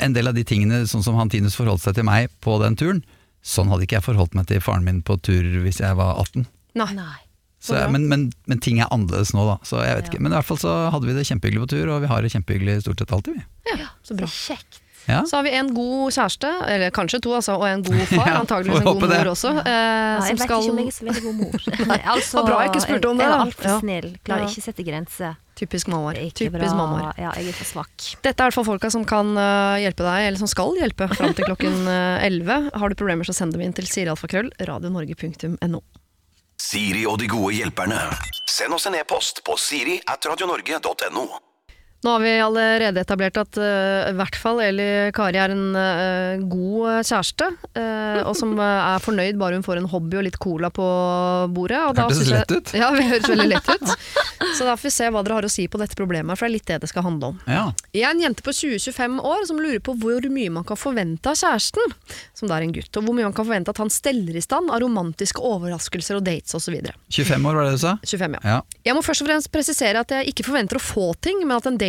A: en del av de tingene, sånn som han Tinus forholdt seg til meg på den turen, sånn hadde ikke jeg forholdt meg til faren min på tur hvis jeg var 18.
C: Nei.
B: Nei.
A: Så,
C: Så bra.
A: men, men, men ting er annerledes nå, da. Så jeg vet
B: Ja.
A: ikke. Men i hvert fall så hadde vi det kjempehyggelig på tur, og vi har det kjempehyggelig stort sett alltid, vi.
C: Ja, så bra.
B: Kjekt.
A: Ja.
C: Så har vi en god kjæreste, eller kanskje to, altså, og en god far.
A: *laughs* Ja,
C: Antakeligvis en
A: får
C: god
A: håpe det.
C: mor også. eh,
B: Ja, Altså, jeg vet
C: som skal
B: ikke om jeg er så veldig god mor. *laughs* Nei, altså,
C: var bra jeg ikke spurte om det,
B: Jeg, jeg
C: da.
B: var altfor
C: Ja.
B: snill. Klarer
C: Ja.
B: ikke å sette grenser.
C: Typisk mammaer.
B: Det er ikke
C: Typisk
B: bra.
C: mammaer.
B: Ja, jeg er for svak.
C: Dette er i hvert fall folka som kan eh, hjelpe deg, eller som skal hjelpe, fram til
B: *laughs*
C: klokken eh, 11. Har du problemer, så send dem inn til sirialfakrøll, radionorge.no.
D: Siri og de gode hjelperne. Send oss en e-post på siri at radionorge.no.
C: Nå har vi allerede etablert at eh, i hvert fall Eli Kari er en eh, god kjæreste, eh, og som eh, er fornøyd bare hun får en hobby og litt cola på bordet. Og da
A: Hørtes
C: synes jeg-
A: lett ut.
C: Ja, det høres veldig lett
A: *laughs*
C: ut. Så da får vi se hva dere har å si på dette problemet, for det er litt det det skal handle om.
A: Ja.
C: Jeg er en jente på 20-25 år som lurer på hvor mye man kan forvente av kjæresten, som da er en gutt, og hvor mye man kan forvente at han steller i stand av romantiske overraskelser og dates osv.
A: 25 år, var det du sa?
C: 25, ja.
A: Ja.
C: Jeg må først og fremst presisere at jeg ikke forventer å få ting, men at en date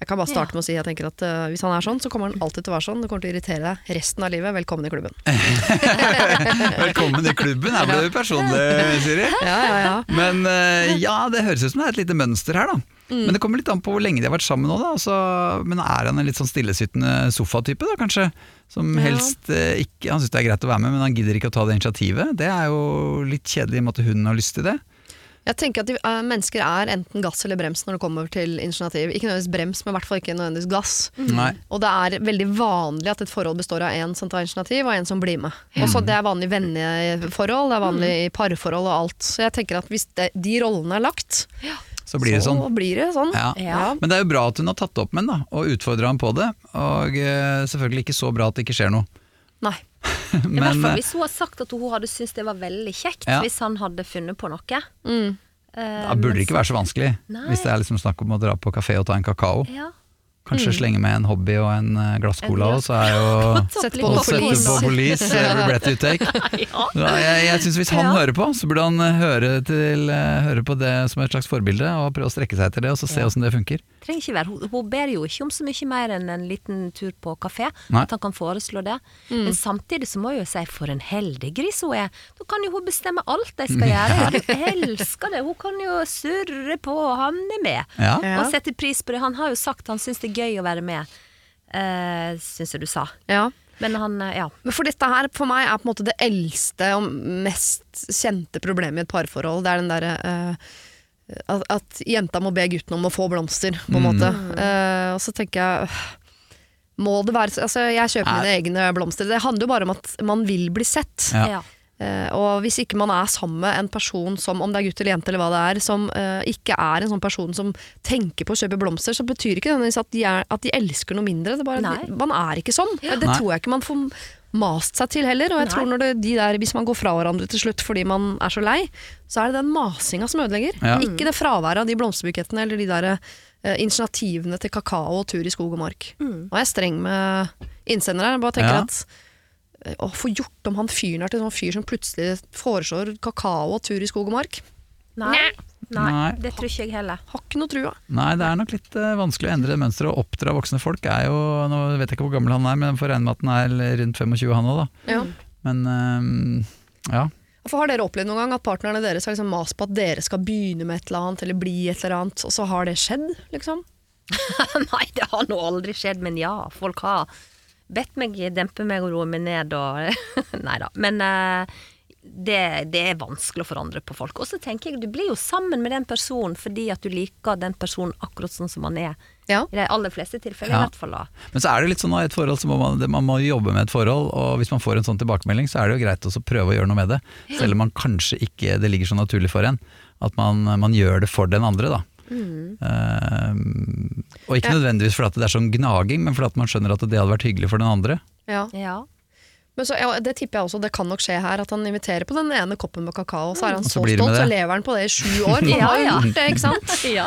C: Jeg kan bare starte med å si jeg tenker at eh, hvis han er sånn, så kommer han alltid til å være sånn. Det kommer til å irritere deg resten av livet. Velkommen i klubben.
A: Velkommen i klubben, her ble du personlig, Siri.
C: Ja, ja, ja.
A: Men eh, ja, det høres ut som det er et lite mønster her, da.
B: Mm.
A: Men det kommer litt an på hvor lenge de har vært sammen nå, da. Altså, men er han en litt sånn stillesyttende sofatype, da kanskje? Som helst eh, ikke Han syns det er greit å være med, men han gidder ikke å ta det initiativet. Det er jo litt kjedelig i og med at hun har lyst til det.
C: Jeg tenker at de, eh, mennesker er enten gass eller brems når det kommer til initiativ. Ikke nødvendigvis brems, men i hvert fall ikke nødvendigvis gass.
A: Nei.
C: Og det er veldig vanlig at et forhold består av en som tar initiativ, og en som blir med. Og så Det er vanlig i venneforhold, det er vanlig i parforhold og alt. Så jeg tenker at hvis det, de rollene er lagt,
A: Så blir det sånn.
C: så blir det sånn.
A: Ja.
B: Ja.
A: Men det er jo bra at hun har tatt det opp med ham, og utfordra ham på det. Og eh, selvfølgelig ikke så bra at det ikke skjer noe.
C: Nei.
B: I hvert
A: *laughs* Men
B: fall
A: eh,
B: hvis hun hadde sagt at hun hadde syntes det var veldig kjekt
A: Ja.
B: hvis han hadde funnet på noe.
C: Mm.
B: Eh,
A: da burde det ikke være så vanskelig.
B: Nei.
A: Hvis det er liksom snakk om å dra på kafé og ta en kakao.
B: ja.
A: Kanskje slenge med en hobby og en eh, glass
B: Mm. En
A: cola, og så er jo
C: Sett på
A: Og
C: noe
B: Topp
A: sette
B: litt
C: police.
A: på police eh,
C: *laughs*
A: regret Uttake. Ja, jeg jeg syns hvis han
B: Ja.
A: hører på, så burde han eh, høre, til, eh, høre på det som et slags forbilde, og prøve å strekke seg etter det, og så se åssen det funker.
B: Trenger ikke være. Hun, hun ber jo ikke om så mye mer enn en liten tur på kafé.
A: Nei.
B: At han kan foreslå det. Men samtidig så må jeg jo si for en heldig gris hun er. Da kan jo hun bestemme alt
A: *laughs*
B: de skal gjøre. Jeg elsker det. Hun kan jo surre på, og han er med.
A: Ja.
C: Ja.
B: Og setter pris på det. Han har jo sagt han syns det er gøy å være med. Uh, syns jeg du sa.
C: Ja.
B: Men han, eh, ja.
C: Men For dette her for meg er på en måte det eldste og mest kjente problemet i et parforhold. Det er den derre eh, at, at jenta må be gutten om å få blomster, på en måte. Eh, og så tenker jeg øh, Må det være så- Altså, jeg kjøper mine egne blomster. Det handler jo bare om at man vil bli sett.
A: Ja.
B: ja.
C: Eh, og hvis ikke man er sammen med en person som, om det er gutt eller jente eller hva det er, som eh, ikke er en sånn person som tenker på å kjøpe blomster, så betyr ikke nødvendigvis at de, er, at de elsker noe mindre. Det er bare,
B: Nei.
C: man er ikke sånn. Det
A: Nei.
C: tror jeg ikke man får mast seg til heller. Og jeg
B: Nei.
C: tror når det, de der, hvis man går fra hverandre til slutt fordi man er så lei, så er det den masinga som ødelegger.
A: Ja.
B: Mm.
C: Ikke det fraværet av de blomsterbukettene eller de der eh, initiativene til kakao og tur i skog og mark.
B: Mm.
C: Nå er jeg streng med innsender her. Jeg bare tenker
A: Ja.
C: at eh, å få gjort om han fyren her til en sånn fyr som plutselig foreslår kakao og tur i skog og mark.
B: Nei. Nei.
A: Nei.
B: Det tror ikke jeg heller.
C: Har ikke noe trua.
A: Nei, det er nok litt eh, vanskelig å endre det mønsteret. Å oppdra voksne folk er jo Nå vet jeg ikke hvor gammel han er, men jeg får regne med at han er rundt 25 han òg, da.
C: Ja.
A: Men ehm, ja.
C: For Har dere opplevd noen gang at partnerne deres har liksom mast på at dere skal begynne med et eller annet, eller bli et eller annet, og så har det skjedd? liksom?
B: *laughs* Nei, det har nå aldri skjedd, men ja, folk har bedt meg dempe meg og roe meg ned og *laughs* Nei da. Men eh, det, det er vanskelig å forandre på folk. Og så tenker jeg, du blir jo sammen med den personen fordi at du liker den personen akkurat sånn som han er.
C: Ja.
B: I de aller fleste tilfeller,
A: Ja.
B: i hvert fall da.
A: Men så er det litt sånn at i et forhold så må man, det- man må jobbe med et forhold, og hvis man får en sånn tilbakemelding, så er det jo greit også å prøve å gjøre noe med det. Selv om man kanskje ikke det ligger så naturlig for en. At man, man gjør det for den andre, da.
C: Mm.
A: Eh, og ikke nødvendigvis fordi at det er sånn gnaging, men fordi at man skjønner at det hadde vært hyggelig for den andre.
C: Ja.
B: Ja.
C: Men så, ja, det tipper jeg også, det kan nok skje her, at han inviterer på den ene koppen med kakao, så er han
A: Og så
C: så
A: blir det
C: stolt,
A: med
C: så
A: det.
C: lever han på det i sju år. Han
B: Ja,
C: har jo
B: ja.
C: gjort det, ikke sant?
E: Ja.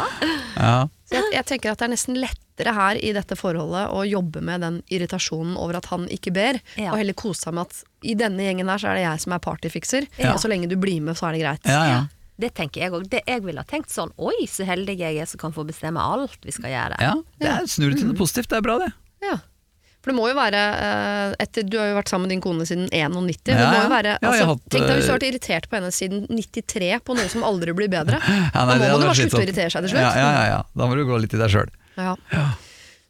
A: Ja.
C: Så jeg, jeg tenker at det er nesten lettere her i dette forholdet å jobbe med den irritasjonen over at han ikke ber,
B: Ja.
C: og heller kose seg med at i denne gjengen her så er det jeg som er partyfikser,
B: Ja.
C: og så lenge du blir med, så er det greit.
A: Ja, ja.
B: Det tenker jeg òg. Jeg ville ha tenkt sånn Oi, så heldig jeg er som kan få bestemme alt vi skal gjøre.
A: ja. Det er, snur det til noe positivt, det er bra det.
C: Ja. For det må jo være eh, etter, Du har jo vært sammen med din kone siden 91. det
A: Ja,
C: må jo
A: ja.
C: være,
A: Ja,
C: altså,
A: jeg har hatt,
C: tenk deg hvis du har
A: eh,
C: vært irritert på henne siden 93 på noe som aldri blir bedre.
A: Ja, nei,
C: da
A: det hadde
C: må man jo bare
A: vært
C: slutte å
A: slitsomt.
C: irritere seg til slutt.
A: Ja, ja, ja, ja. Da må du gå litt i deg sjøl.
C: Ja.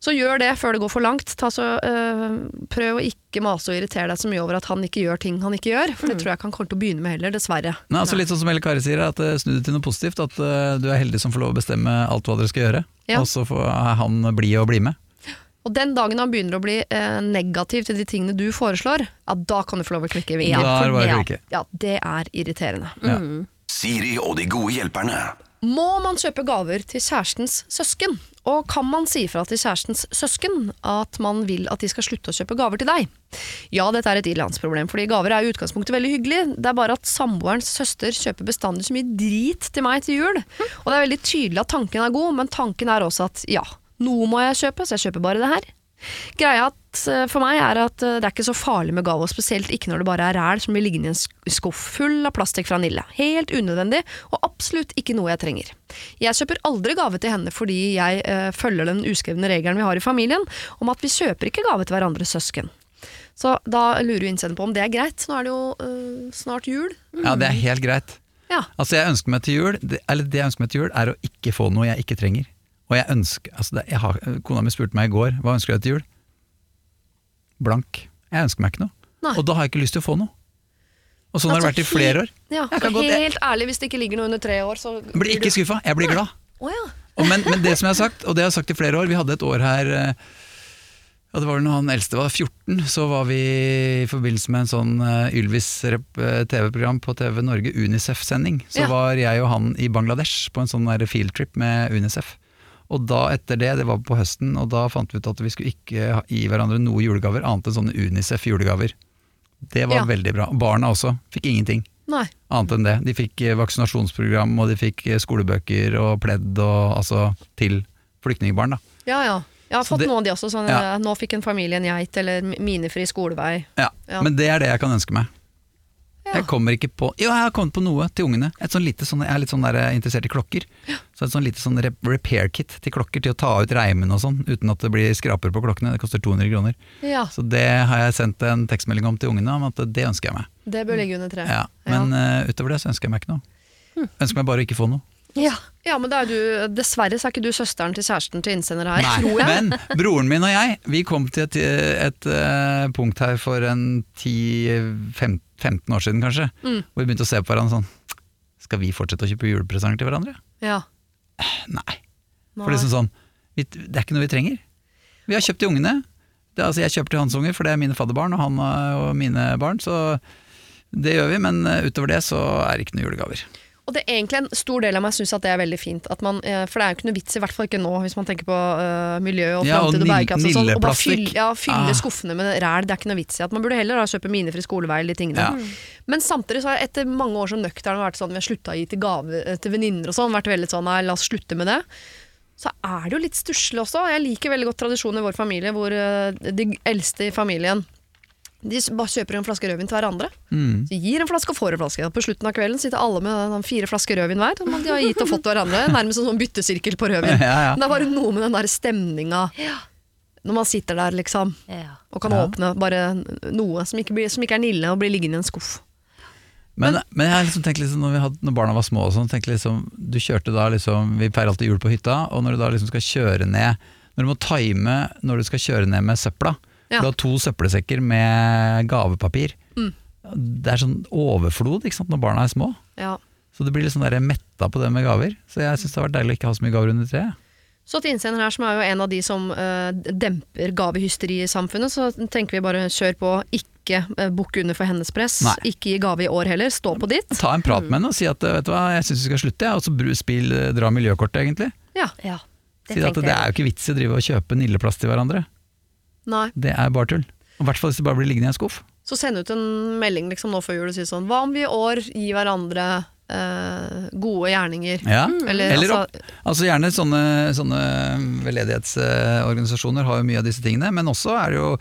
C: Så gjør det før det går for langt. Ta så, eh, prøv å ikke mase og irritere deg så mye over at han ikke gjør ting han ikke gjør, for det tror jeg ikke han kommer til å begynne med heller, dessverre.
A: Altså, litt sånn som Elle Kari sier, at eh, snu det til noe positivt. At eh, du er heldig som får lov å bestemme alt hva dere skal gjøre.
C: Ja.
A: Og så får han bli og bli med.
C: Og den dagen han begynner å bli eh, negativ til de tingene du foreslår, ja, da kan du få lov å klikke i vingen.
A: da er det bare å
B: ja.
A: klikke.
C: Ja, det er irriterende.
A: Ja.
D: Siri og de gode hjelperne.
C: Må man kjøpe gaver til kjærestens søsken? Og kan man si fra til kjærestens søsken at man vil at de skal slutte å kjøpe gaver til deg? Ja, dette er et irlandsproblem, fordi gaver er i utgangspunktet veldig hyggelig. Det er bare at samboerens søster kjøper bestandig så mye drit til meg til jul. Og det er veldig tydelig at tanken er god, men tanken er også at ja, noe må jeg kjøpe, så jeg kjøper bare det her. Greia at, eh, for meg er at eh, det er ikke så farlig med gave, og spesielt ikke når det bare er ræl som blir liggende i en sk- skuff full av plastikk fra Nille. Helt unødvendig, og absolutt ikke noe jeg trenger. Jeg kjøper aldri gave til henne fordi jeg eh, følger den uskrevne regelen vi har i familien om at vi kjøper ikke gave til hverandres søsken. Så da lurer jo innsenderen på om det er greit. Nå er det jo eh, snart jul.
A: ja,
C: Mm.
A: det er helt greit.
C: Ja.
A: Altså, jeg ønsker meg til jul, det, eller det jeg ønsker meg til jul, er å ikke få noe jeg ikke trenger. Og jeg ønsker, altså det, jeg har, Kona mi spurte meg i går hva ønsker du deg til jul. Blank. Jeg ønsker meg ikke noe.
C: Nei.
A: Og da har jeg ikke lyst til å få noe. Og sånn har det
C: Altså,
A: vært i flere år.
C: Ja,
A: Jeg kan
C: og
A: godt- jeg-
C: helt ærlig, hvis det ikke ligger noe under tre år, så
A: Jeg blir ikke skuffa, jeg blir glad.
C: Å ja.
A: Og men, men det som jeg har sagt, og det jeg har sagt i flere år Vi hadde et år her eh, ja, Det var vel når han eldste var 14 Så var vi i forbindelse med en sånn eh, Ylvis rep- eh, TV-program på TV Norge Unicef-sending Så
C: Ja.
A: var jeg og han i Bangladesh På en sånn der fieldtrip med Unicef Og da etter det, det var på høsten Og da fant vi ut at vi skulle ikke ha- gi hverandre noen julegaver Annet enn sånne Unicef-julegaver Det var
C: Ja.
A: veldig bra Barna også, fikk ingenting
C: Nei.
A: annet enn det. De fikk eh, vaksinasjonsprogram, og de fikk eh, skolebøker og pledd og, altså, til flyktningbarn. Da.
C: Ja, ja. Jeg har
A: Så
C: fått
A: det-
C: noen av de også. Sånn,
A: Ja.
C: eh, Nå fikk en familie en geit, eller mi- minefri skolevei.
A: Ja.
C: Ja.
A: Men det er det jeg kan ønske meg.
C: Ja.
A: Jeg kommer ikke på Jo, jeg har kommet på noe til ungene. Et sånn lite sånn, jeg er litt sånn der, eh, interessert i klokker. Så et sånn lite sånn rep- repair kit til klokker, til å ta ut reimen og sånn, uten at det blir skraper på klokkene. Det koster 200 kroner.
C: Ja,
A: Så det har jeg sendt en tekstmelding om til ungene, om at det ønsker jeg meg.
C: det bør ligge under tre.
A: Ja. Men eh, utover det så ønsker jeg meg ikke noe. Ønsker meg bare å ikke få noe.
C: ja. ja, men da er du, dessverre så er ikke du søsteren til kjæresten til innsender her,
A: Nei,
C: tror jeg.
A: Men broren min og jeg, vi kom til et, et eh, punkt her for en 10-15 år siden kanskje,
C: Mm.
A: hvor vi begynte å se på hverandre sånn Skal vi fortsette å kjøpe julepresanger til hverandre?
C: Ja.
A: Nei.
C: Nei.
A: For liksom sånn, vi, det er ikke noe vi trenger. Vi har kjøpt til ungene. Det, er- altså, jeg kjøper til hans unger, for det er mine fadderbarn og han eh, og mine barn. Så det gjør vi, men eh, utover det så er det ikke noen julegaver.
C: Og det er egentlig en stor del av meg syns at det er veldig fint. At man, eh, for det er jo ikke noe vits, i hvert fall ikke nå, hvis man tenker på eh, miljø og
A: Ja, og
C: framtid og
A: nill-
C: bærekraft og sånn. Og bare
A: nilleplastikk.
C: fylle, ja, fylle
A: Ah.
C: skuffene med ræl. Det er ikke noe vits i. At man burde heller da, kjøpe minefri skolevei eller de tingene.
A: Ja.
C: Men samtidig så har jeg etter mange år som nøktern vært sånn, vi har slutta å gi til gave eh, til venninner og sånn, vært veldig sånn nei, la oss slutte med det. Så er det jo litt stusslig også. Jeg liker veldig godt tradisjonen i vår familie hvor eh, de eldste i familien de s- bare kjøper en flaske rødvin til hverandre.
A: Mm.
C: Så gir en flaske og får en flaske. Og på slutten av kvelden sitter alle med den fire flasker rødvin hver. som De har gitt og
A: *laughs*
C: fått hverandre. Nærmest en sånn byttesirkel på rødvin.
A: Ja, ja.
C: Men Det er bare noe med den der stemninga når man sitter der, liksom.
B: Ja.
C: Og kan åpne bare noe som ikke, blir, som ikke er nille og blir liggende i en skuff.
A: Men, men jeg har liksom tenkt liksom, når, vi hadde, når barna var små og sånn, tenkte jeg liksom, du kjørte da liksom, Vi feirer alltid jul på hytta, og når du da liksom skal kjøre ned Når du må time når du skal kjøre ned med søpla
C: Ja.
A: Du har to søppelsekker med gavepapir.
B: Mm.
A: Det er sånn overflod ikke sant, når barna er små.
C: Ja.
A: Så du blir litt sånn der metta på det med gaver. Så jeg syns det har vært deilig å ikke ha så mye gaver under treet.
C: Så til innsender her, som er jo en av de som eh, demper gavehysteriet i samfunnet, så tenker vi bare kjør på. Ikke uh, bukk under for hennes press.
A: Nei.
C: Ikke gi gave i år heller. Stå på ditt.
A: Ta en prat med henne og si at vet du hva, jeg syns vi skal slutte, jeg, og så bru- spill, eh, dra miljøkortet, egentlig.
C: Ja.
B: Ja, det
A: si at
B: tenkte
A: det
B: jeg.
A: er jo ikke vits i å drive og kjøpe nilleplast til hverandre.
C: Nei.
A: Det er bare tull. Og I hvert fall hvis det bare blir liggende i en skuff.
C: Så Så send ut en melding liksom, nå før jul og si sånn Hva om vi i år gir hverandre eh, gode gjerninger?
A: Ja.
C: Eller,
A: Eller
C: altså,
A: opp. Altså Gjerne sånne, sånne mm, veldedighetsorganisasjoner har jo mye av disse tingene, men også er det jo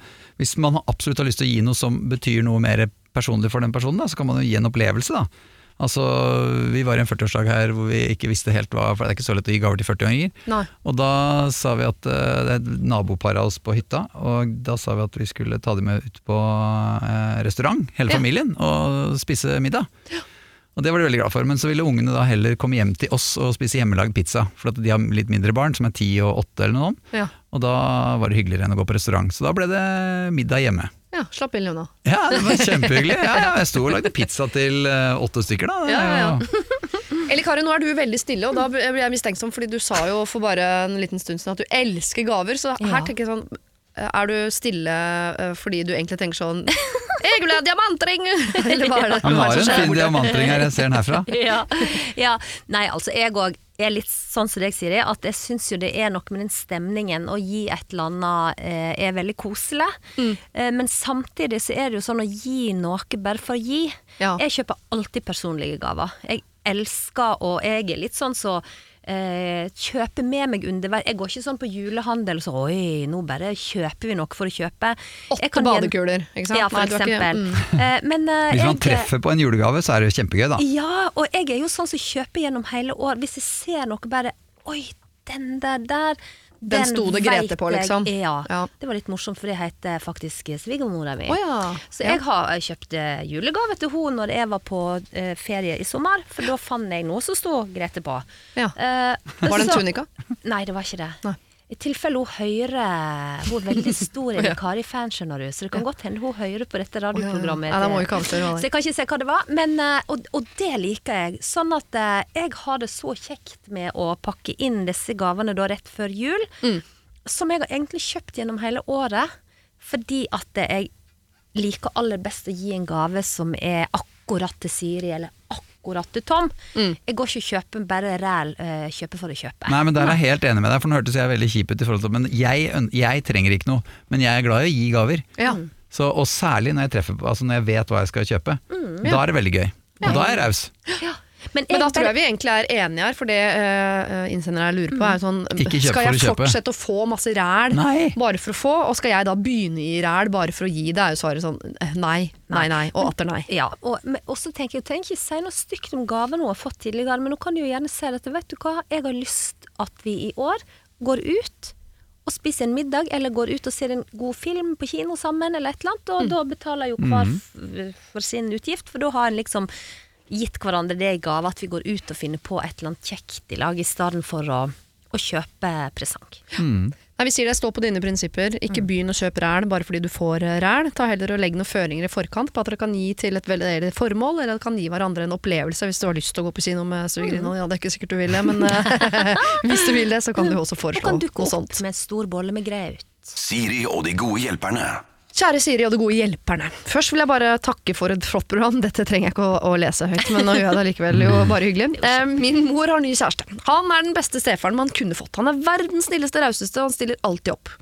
A: Hvis man absolutt har lyst til å gi noe som betyr noe mer personlig for den personen, da, så kan man jo gi en opplevelse, da. Altså, Vi var i en 40-årsdag her hvor vi ikke visste helt hva For det er ikke så lett å gi gaver til 40-åringer.
C: Nei.
A: Og da sa vi at eh, det er et nabopar av oss på hytta, og da sa vi at vi skulle ta dem med ut på eh, restaurant, hele
C: Ja.
A: familien, og spise middag. Og det var de veldig glad for, men så ville ungene da heller komme hjem til oss og spise hjemmelagd pizza, for at de har litt mindre barn, som er ti og åtte eller noe sånt,
C: Ja,
A: og da var det hyggeligere enn å gå på restaurant, så da ble det middag hjemme.
C: ja, slapp inn, Jonna.
A: Ja, det var kjempehyggelig. Ja, ja, jeg sto og lagde pizza til eh, åtte stykker da. Det
C: Ja, ja, ja.
A: er jo-
C: Eller Kari, nå er du veldig stille, og da blir jeg mistenksom, fordi du sa jo for bare en liten stund siden at du elsker gaver, så her
B: Ja.
C: tenker jeg sånn er du stille eh, fordi du egentlig tenker sånn *laughs* 'Jeg vil ha diamantring!' *laughs* Eller hva er det?
A: Han
C: hva
A: har
C: er det
A: en
C: som skjer
A: fin
C: borte?
A: diamantring her, jeg ser den herfra.
B: *laughs* ja. ja. Nei, altså jeg òg er litt sånn som deg, Siri, at jeg syns jo det er noe med den stemningen å gi et eller annet eh, er veldig koselig.
C: Mm.
B: Eh, men samtidig så er det jo sånn å gi noe bare for å gi.
C: Ja.
B: Jeg kjøper alltid personlige gaver. Jeg elsker og jeg er litt sånn så Eh, kjøper med meg underveis Jeg går ikke sånn på julehandel så oi, nå bare kjøper vi noe for å kjøpe. Jeg
C: Åtte
B: kan gjen-
C: badekuler, ikke sant?
B: Ja, for
C: Nei, du er ikke-
B: eksempel.
C: mm.
B: Eh, men, eh,
A: Hvis man
B: jeg-
A: treffer på en julegave, så er det jo kjempegøy da.
B: ja, og jeg er jo sånn som kjøper gjennom hele år. Hvis jeg ser noe bare Oi, den der der.
C: Den sto
B: vet
C: det Grete på,
B: jeg».
C: liksom.
B: Ja.
C: Ja.
B: Det var litt morsomt, for det heter faktisk svigermora mi.
C: Å ja.
B: Så jeg har eh, kjøpt eh, julegave til henne når jeg var på eh, ferie i sommer, for da fant jeg noe som sto Grete på.
C: Ja.
B: Eh,
C: Var det en
B: så-
C: tunika?
B: Nei, det var ikke det.
C: Nei.
B: I tilfelle hun hører Hun er veldig
C: *laughs*
B: stor Ine Kari-fan, skjønner du, så det kan godt hende hun hører på dette radioprogrammet.
C: Nei, da må vi ikke avsløre hva det er.
B: Så jeg kan ikke se hva det var, men, eh, og, og det liker jeg. Sånn at eh, jeg har det så kjekt med å pakke inn disse gavene da rett før jul,
C: Mm.
B: som jeg har egentlig kjøpt gjennom hele året, fordi at jeg liker aller best å gi en gave som er akkurat til Siri, eller akkurat til Tom.
C: Mm.
B: Jeg går ikke og kjøper bare ræl, eh, kjøpe for å kjøpe.
A: Nei, men der er jeg helt enig med deg, for nå hørtes jeg veldig kjip ut i forhold til Men jeg, øn- jeg trenger ikke noe, men jeg er glad i å gi gaver.
C: Ja.
A: Så, og særlig når jeg treffer på, altså når jeg vet hva jeg skal kjøpe.
B: Mm,
A: Da er det veldig gøy. Og da er jeg raus.
B: Ja.
C: Men da tror
B: bare-
C: jeg vi egentlig er enige her, for det uh, innsender her lurer på er sånn
A: Mm. Ikke kjøp
C: Skal jeg
A: for å kjøpe.
C: fortsette å få masse ræl
A: Nei.
C: bare for å få, og skal jeg da begynne i ræl bare for å gi? Det er jo svaret sånn eh, nei, nei, nei, og atter nei.
B: Ja, og, men også tenker jeg, trenger ikke si noe stygt om gaven hun har fått tidligere, men hun kan jo gjerne si dette. Vet du hva, jeg har lyst at vi i år går ut og spiser en middag, eller går ut og ser en god film på kino sammen, eller et eller annet, og da betaler jo hver f- for sin utgift, for da har en liksom gitt hverandre det i gave at vi går ut og finner på et eller annet kjekt i lag, i stedet for å, å kjøpe presang.
C: Nei, Vi sier det, stå på dine prinsipper. Ikke begynn å kjøpe ræl bare fordi du får eh, ræl. Ta heller og Legg noen føringer i forkant på at dere kan gi til et veldedig formål, eller dere kan gi hverandre en opplevelse hvis du har lyst til å gå på kino med svigerinna. Ja, det er ikke sikkert du vil det, men eh, *laughs* hvis du vil det, så kan du jo også
B: Hun
C: foreslå
B: kan dukke
C: noe
B: opp
C: sånt.
B: med en stor bolle med graut.
D: Siri og de gode hjelperne.
C: Kjære Siri og de gode hjelperne. Først vil jeg bare takke for et flott program. Dette trenger jeg ikke å, å lese høyt, men nå gjør jeg det likevel. Jo, bare hyggelig. Eh, min mor har ny kjæreste. Han er den beste stefaren man kunne fått. Han er verdens snilleste, rauseste, og han stiller alltid opp.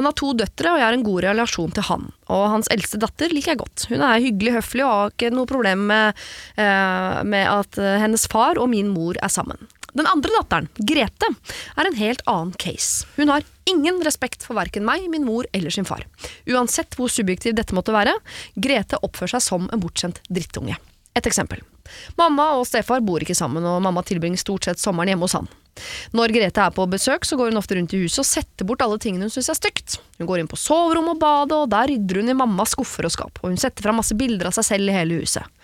C: Han har to døtre, og jeg har en god relasjon til han. Og hans eldste datter liker jeg godt. Hun er hyggelig, høflig og har ikke noe problem med, eh, med at eh, hennes far og min mor er sammen. Den andre datteren, Grete, er en helt annen case. Hun har ingen respekt for verken meg, min mor eller sin far. Uansett hvor subjektiv dette måtte være, Grete oppfører seg som en bortskjemt drittunge. Et eksempel. Mamma og stefar bor ikke sammen, og mamma tilbringer stort sett sommeren hjemme hos han. Når Grete er på besøk, så går hun ofte rundt i huset og setter bort alle tingene hun syns er stygt. Hun går inn på soverommet og badet, og der rydder hun i mammas skuffer og skap, og hun setter fram masse bilder av seg selv i hele huset.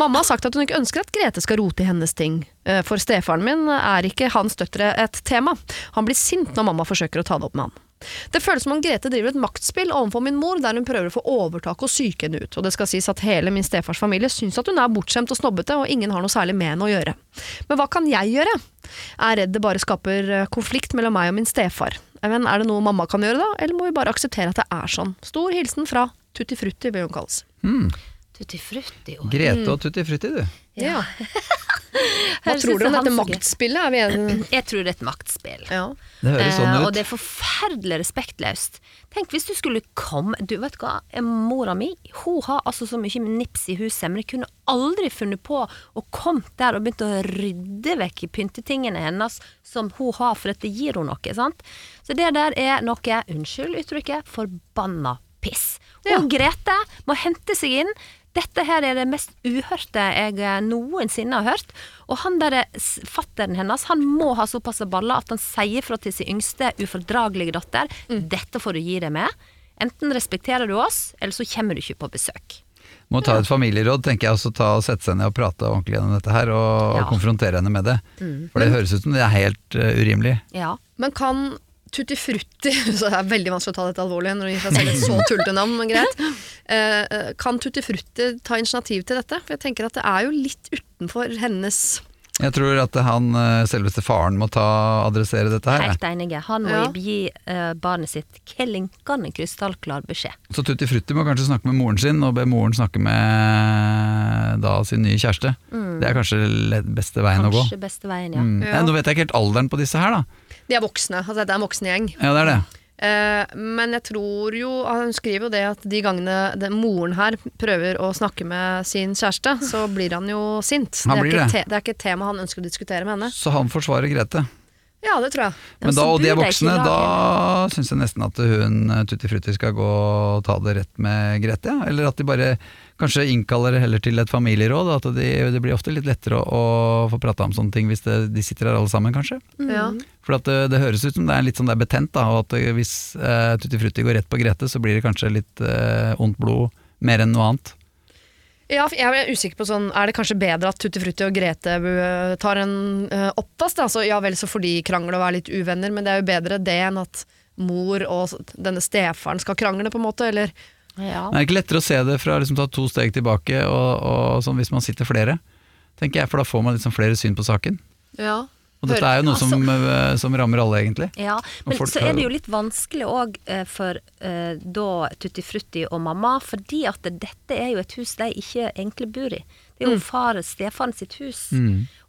C: Mamma har sagt at hun ikke ønsker at Grete skal rote i hennes ting, eh, for stefaren min er ikke hans døtre et tema. Han blir sint når mamma forsøker å ta det opp med han. Det føles som om Grete driver et maktspill overfor min mor, der hun prøver å få overtak og psyke henne ut, og det skal sies at hele min stefars familie syns at hun er bortskjemt og snobbete, og ingen har noe særlig med henne å gjøre. Men hva kan jeg gjøre? Jeg er redd det bare skaper eh, konflikt mellom meg og min stefar. Eh, Men er det noe mamma kan gjøre da, eller må vi bare akseptere at det er sånn? Stor hilsen fra Tutti Frutti, vil hun kalles.
B: Tutti frutti og
C: *laughs*
A: Grete og Tutti Frutti, du.
C: Ja. Hva
B: Her
C: tror
B: synes
C: dere om
B: jeg
C: dette
B: han så gøy.
C: maktspillet? Er vi enige?
B: Jeg tror det er et maktspill.
C: *clears throat* Ja.
A: Det høres sånn
B: Eh,
A: ut.
B: Og det er forferdelig respektløst. Tenk hvis du skulle komme Du vet hva, eh, mora mi hun har altså så mye nips i huset, men jeg kunne aldri funnet på å komme der og begynt å rydde vekk pyntetingene hennes som hun har, for at det gir hun noe. sant? Så det der er noe, unnskyld uttrykket, forbanna piss.
C: Ja.
B: Og Grete må hente seg inn. Dette her er det mest uhørte jeg eh, noensinne har hørt. Og han derre fatteren hennes, han må ha såpass baller at han sier fra til sin yngste ufordragelige datter dette får du gi deg med. Enten respekterer du oss, eller så kommer du ikke på besøk.
A: Må ta et familieråd, tenker jeg, og så ta og sette seg ned og prate ordentlig gjennom dette her, og,
B: Ja. Mm.
A: og konfrontere henne med det. For det høres ut som det er helt eh, urimelig.
B: Ja.
C: Men kan Tutti Frutti *laughs* så Det er veldig vanskelig å ta dette alvorlig når du gir seg selv et så *laughs* tullete navn, men greit. Eh, eh, kan Tutti Frutti ta initiativ til dette? For jeg tenker at det er jo litt utenfor hennes
A: Jeg tror at han eh, selveste faren må ta adressere dette her. jeg.
B: Helt enige. Han må
C: Ja.
B: gi eh, barnet sitt klinkende krystallklar beskjed.
A: Så Tutti Frutti må kanskje snakke med moren sin, og be moren snakke med da sin nye kjæreste. Det er kanskje le- beste veien å gå.
B: Mm. Kanskje beste veien, ja.
A: Mm.
C: Ja.
A: Nei, nå vet jeg ikke helt alderen på disse her, da.
C: De er voksne. Altså dette er en voksen gjeng.
A: Ja, det er det.
C: Eh, men jeg tror jo Han skriver jo det at de gangene den moren her prøver å snakke med sin kjæreste, så blir han jo sint.
A: Han
C: det, er
A: blir
C: ikke
A: det.
C: Te, det er ikke et tema han ønsker å diskutere med henne.
A: Så han forsvarer Grete.
C: Ja, det tror jeg.
A: Men
B: så
A: da, og de er
B: bor de ikke i
A: voksne,
B: lag,
A: da syns jeg nesten at hun eh, Tutti Frutti skal gå og ta det rett med Grete. Ja. Eller at de bare kanskje innkaller det heller til et familieråd. At de, det blir ofte litt lettere å, å få prata om sånne ting hvis det, de sitter her alle sammen, kanskje.
C: Ja.
A: For at eh, det, det høres ut som det er litt sånn det er betent, da, og at eh, hvis eh, Tutti Frutti går rett på Grete, så blir det kanskje litt eh, ondt blod mer enn noe annet.
C: Ja, for jeg er usikker på sånn Er det kanskje bedre at Tutti Frutti og Grete eh, tar en uh, oppvask? da? Altså, ja vel, så får de krangle og være litt uvenner, men det er jo bedre det enn at mor og s- denne stefaren skal krangle, på en måte, eller
B: Ja.
A: Det er ikke lettere å se det fra å liksom, ta to steg tilbake, og, og sånn hvis man sitter flere, tenker jeg, for da får man liksom flere syn på saken.
C: Ja.
A: Og dette er jo noe
B: Altså-
A: som, eh, som rammer alle, egentlig.
B: Ja, men
A: folk
B: så
A: har
B: er det
A: jo-
B: jo litt vanskelig òg for eh, da Tutti Frutti og mamma, fordi at dette er jo et hus de ikke egentlig bor i. Det er
A: Mm.
B: jo far, stefaren sitt hus,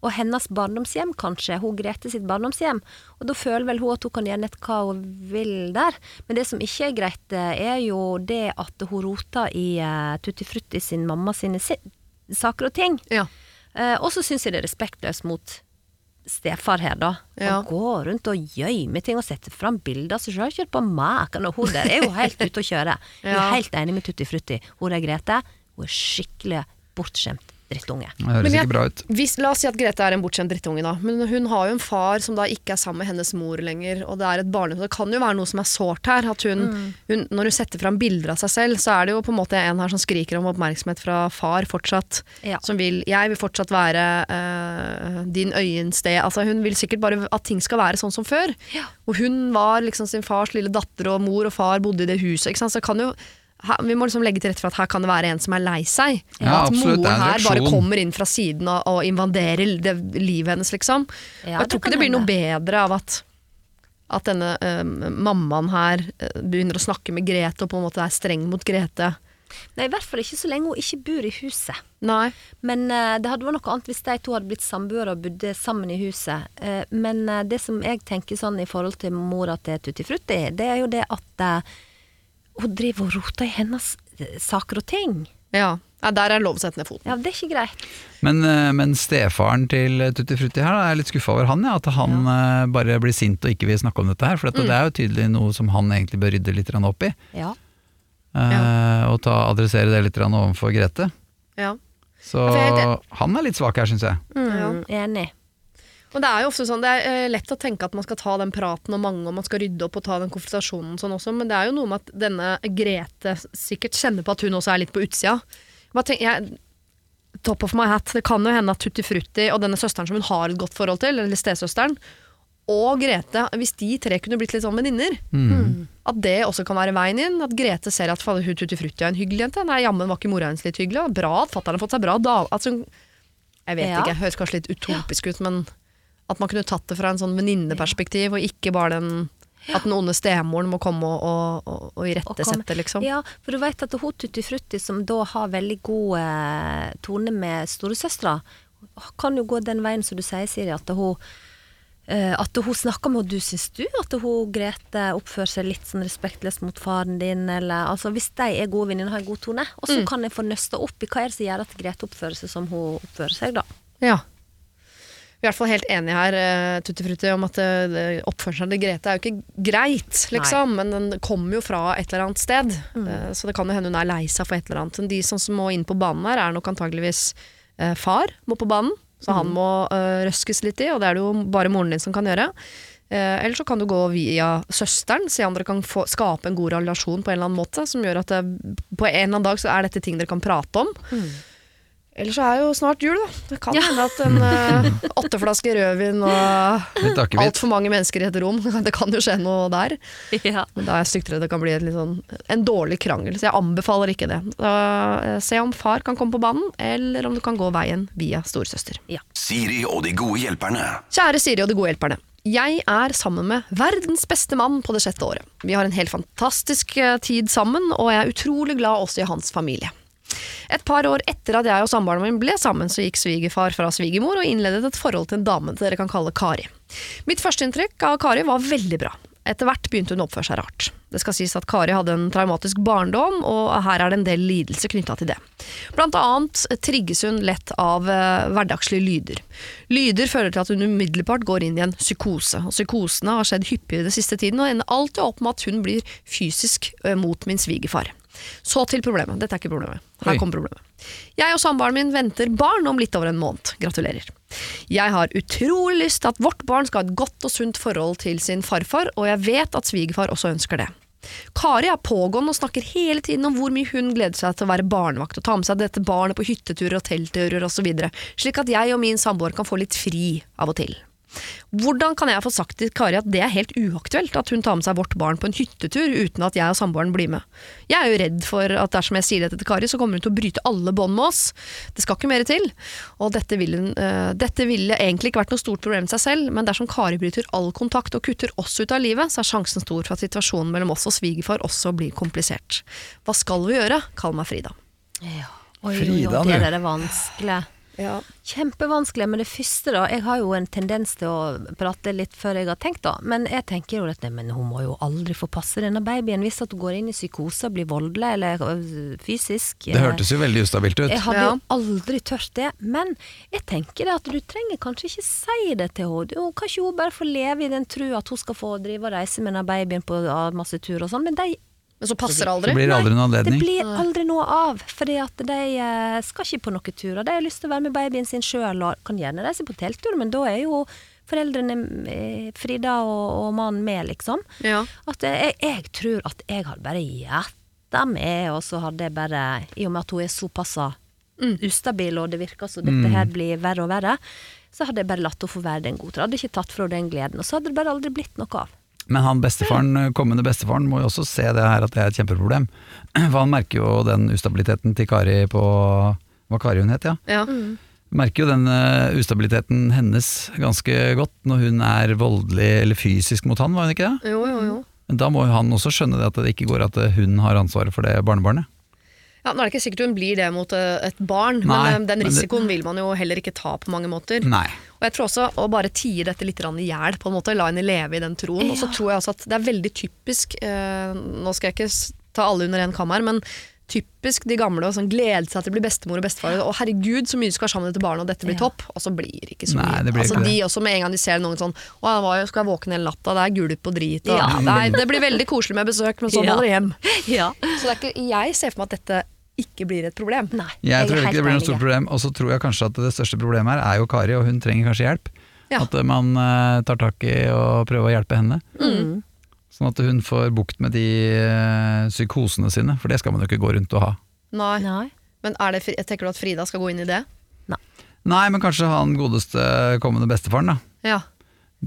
B: og hennes barndomshjem kanskje, hun Grete sitt barndomshjem. Og da føler vel hun at hun kan gjøre nett hva hun vil der. Men det som ikke er greit, eh, er jo det at hun roter i eh, Tutti Frutti sin mamma sine si saker og ting.
C: ja.
B: Eh, og så syns jeg det er respektløst mot stefar her, da.
C: Ja.
B: Han går rundt og gjemmer ting og setter fram bilder av seg sjøl. Kjør på maken, og hun der er jo helt ute å kjøre. Jeg er
C: Ja.
B: helt enig med Tutti Frutti. Hun der Grete, hun er skikkelig bortskjemt drittunge.
A: Det høres
C: Men jeg-
A: ikke bra ut.
C: Hvis, la oss si at Grete er en bortskjemt drittunge, da. Men hun har jo en far som da ikke er sammen med hennes mor lenger. Og det er et barnehus. Det kan jo være noe som er sårt her. At hun, hun, når hun setter fram bilder av seg selv, så er det jo på en måte en her som skriker om oppmerksomhet fra far fortsatt.
B: Ja.
C: Som vil Jeg vil fortsatt være eh, din øyensted. Altså, hun vil sikkert bare at ting skal være sånn som før. Og hun var liksom sin fars lille datter, og mor og far bodde i det huset. Ikke sant? Så kan jo her, vi må liksom legge til rette for at her kan det være en som er lei seg.
A: Ja,
C: at
A: absolutt, det er
C: moren
A: en
C: her bare
A: reaksjon.
C: kommer kommer inn fra siden og, og invaderer det, livet hennes, liksom.
B: Ja,
C: og jeg
B: det
C: tror
B: kan
C: ikke det blir noe
B: hende.
C: bedre av at, at denne eh, mammaen her eh, begynner å snakke med Grete og på en måte er streng mot Grete.
B: Nei, i hvert fall ikke så lenge hun ikke bor i huset.
C: Nei.
B: Men eh, det hadde vært noe annet hvis de to hadde blitt samboere og bodde sammen i huset. Eh, men eh, det som jeg tenker sånn i forhold til mora til Tutti Frutti, det er jo det at eh, hun driver og roter i hennes eh, saker og ting.
C: Ja. Nei, der er det lov å sette ned foten.
B: Ja, det er ikke greit.
A: Men, eh, men stefaren til Tutti Frutti her, da, jeg er litt skuffa over han. Ja, at han eh, bare blir sint og ikke vil snakke om dette her. For at
C: Mm.
A: det er jo tydelig noe som han egentlig bør rydde litt grann opp i.
B: Ja.
A: eh, Og ta, adressere det litt grann overfor Grete.
C: Ja.
A: Så
C: for jeg er helt
A: han er litt svak her, syns jeg.
B: Mm, enig.
C: Og det er jo ofte sånn, det er eh, lett å tenke at man skal ta den praten om mange, og man skal rydde opp og ta den konfrontasjonen og sånn også, men det er jo noe med at denne Grete sikkert kjenner på at hun også er litt på utsida. Hva tenk- jeg, top of my hat, det kan jo hende at Tutti Frutti og denne søsteren som hun har et godt forhold til, eller stesøsteren, og Grete, hvis de tre kunne blitt litt sånn venninner, at det også kan være veien inn, at Grete ser at fader, hun Tutti Frutti er en hyggelig jente, nei, jammen var ikke mora hennes litt hyggelig, og bra at fatteren har fått seg bra, da, at hun, jeg vet
B: Ja.
C: ikke, høres kanskje litt utopisk ut, men at man kunne tatt det fra en sånn venninneperspektiv, og ikke bare den at den onde stemoren må komme og, og, og, og
B: Og kom-
C: irettesette, liksom.
B: Ja, for du vet at hun Tutti Frutti, som da har veldig god eh, tone med storesøstera, kan jo gå den veien som du sier, Siri, at hun eh, at hun snakker med henne du syns du, at hun Grete oppfører seg litt sånn respektløst mot faren din, eller altså Hvis de er gode venninner og har en god tone, og så kan jeg få nøsta opp i hva er det som gjør at Grete oppfører seg som hun oppfører seg, da.
C: Ja. Vi er i hvert fall helt enige her, eh, Tutti Frutti, om at eh, det- oppførselen til Grete er jo ikke greit, liksom. Men den kommer jo fra et eller annet sted. Eh, Så det kan jo hende hun er lei seg for et eller annet. Men de som må inn på banen her, er nok antageligvis eh, far må på banen. Så han må eh, røskes litt i, og det er det jo bare moren din som kan gjøre. Eh, Eller så kan du gå via søsteren, se om dere kan få, skape en god relasjon på en eller annen måte. Som gjør at eh, på en eller annen dag så er dette ting dere kan prate om. Ellers så er jo snart jul, da. Det kan hende at en eh, åtte flasker rødvin og
A: Litt akevitt.
C: altfor mange mennesker i et rom *laughs* Det kan jo skje noe der.
B: Ja.
C: Men da er jeg stygt redd det kan bli et litt sånn, en dårlig krangel, så jeg anbefaler ikke det. Da, eh, se om far kan komme på banen, eller om du kan gå veien via storesøster.
D: Siri og de gode hjelperne.
C: Kjære Siri og de gode hjelperne. Jeg er sammen med verdens beste mann på det sjette året. Vi har en helt fantastisk eh, tid sammen, og jeg er utrolig glad også i hans familie. Et par år etter at jeg og samboeren min ble sammen, så gikk svigerfar fra svigermor og innledet et forhold til en dame dere kan kalle Kari. Mitt førsteinntrykk av Kari var veldig bra. Etter hvert begynte hun å oppføre seg rart. Det skal sies at Kari hadde en traumatisk barndom, og her er det en del lidelse knytta til det. Blant annet trigges hun lett av eh, hverdagslige lyder. Lyder fører til at hun umiddelbart går inn i en psykose, og psykosene har skjedd hyppig den siste tiden, og ender alltid opp med at hun blir fysisk eh, mot min svigerfar. Så til problemet. Dette er ikke problemet. Her
A: Oi.
C: kommer problemet. Jeg og samboeren min venter barn om litt over en måned. Gratulerer. Jeg har utrolig lyst til at vårt barn skal ha et godt og sunt forhold til sin farfar, og jeg vet at svigerfar også ønsker det. Kari er pågående og snakker hele tiden om hvor mye hun gleder seg til å være barnevakt og ta med seg dette barnet på hytteturer og teltturer osv., slik at jeg og min samboer kan få litt fri av og til. Hvordan kan jeg få sagt til Kari at det er helt uaktuelt at hun tar med seg vårt barn på en hyttetur uten at jeg og samboeren blir med? Jeg er jo redd for at dersom jeg sier dette til Kari, så kommer hun til å bryte alle bånd med oss. Det skal ikke mer til. Og dette ville, hun, eh, dette ville egentlig ikke vært noe stort problem i seg selv, men dersom Kari bryter all kontakt og kutter oss ut av livet, så er sjansen stor for at situasjonen mellom oss og svigerfar også blir komplisert. Hva skal vi gjøre? Kall meg Frida.
B: Oi,
A: Frida,
B: oi, oi,
A: du.
B: det er vanskelig. Kjempevanskelig, men det første da Jeg har jo en tendens til å prate litt før jeg har tenkt da Men jeg tenker jo at nei, men hun må jo aldri få passe denne babyen Hvis at hun går inn i psykose og blir voldelig eller øh, fysisk eh,
A: Det hørtes jo veldig ustabilt ut.
B: Jeg hadde
C: Ja.
B: jo aldri tørt det Men jeg tenker det at du trenger kanskje ikke si det til henne Du- Kan ikke hun bare få leve i den tru at hun skal få drive og reise med denne babyen på ah, masse tur og sånn Men de
C: Men så passer det
A: Det
C: aldri.
A: blir aldri noen anledning.
B: det blir aldri noe av, fordi at de eh, skal ikke på noen turer. De har lyst til å være med babyen sin sjøl, og kan gjerne reise på telttur, men da er jo foreldrene eh, Frida og, og mannen med, liksom.
C: Ja.
B: At eh, jeg, jeg tror at jeg hadde bare gjetta med, og så hadde jeg bare I og med at hun er såpass ustabil, og det virker som
A: Mm.
B: dette her blir verre og verre, så hadde jeg bare latt henne få være den gode. Hadde ikke tatt fra henne den gleden. Og så hadde det bare aldri blitt noe av.
A: Men han bestefaren, kommende bestefaren må jo også se det her at det er et kjempeproblem. *clears throat* For han merker jo den ustabiliteten til Kari på Hva Kari hun het, ja.
C: Ja.
A: Merker jo den eh, ustabiliteten hennes ganske godt når hun er voldelig eller fysisk mot han, var hun ikke det?
C: Jo, jo, jo.
A: Men da må jo han også skjønne det at det ikke går at eh, hun har ansvaret for det barnebarnet.
C: Ja, nå er det ikke sikkert hun blir det mot eh, et barn,
A: Nei,
C: men eh, den
A: men det-
C: risikoen vil man jo heller ikke ta på mange måter.
A: Nei.
C: Og jeg tror også å bare tie dette litt grann i hjel, på en måte, la henne leve i den troen. Og så tror jeg også at det er veldig typisk, eh, nå skal jeg ikke s- ta alle under en kammer, men typisk de gamle å sånn, glede seg til å bli bestemor og bestefar. Og herregud, så mye du skal være sammen med dette barnet, og dette blir topp. Og så blir det ikke så mye.
A: Nei, det blir
C: altså,
A: ikke
C: de
A: det.
C: også med en gang de ser noen sånn Å, jeg var jo, skal jeg våkne hele natta, det er gulp og drit. Og,
B: Ja.
C: Nei, det blir veldig koselig med besøk, men så
B: Ja.
C: må dere hjem.
B: Ja.
C: Så det er ikke, jeg ser for meg at dette ikke blir et problem.
B: Nei,
A: Jeg tror
B: er
A: ikke det
B: helt
A: blir noe
B: enig.
A: stort problem, og så tror jeg kanskje at det største problemet her er jo Kari, og hun trenger kanskje hjelp.
C: Ja.
A: At eh, man eh, tar tak i og prøver å hjelpe henne. Sånn at hun får bukt med de eh, psykosene sine, for det skal man jo ikke gå rundt og ha.
C: Nei.
B: Nei.
C: Men er det, Fri- tenker du at Frida skal gå inn i det?
A: Nei, men kanskje han godeste kommende bestefaren da,
C: Ja.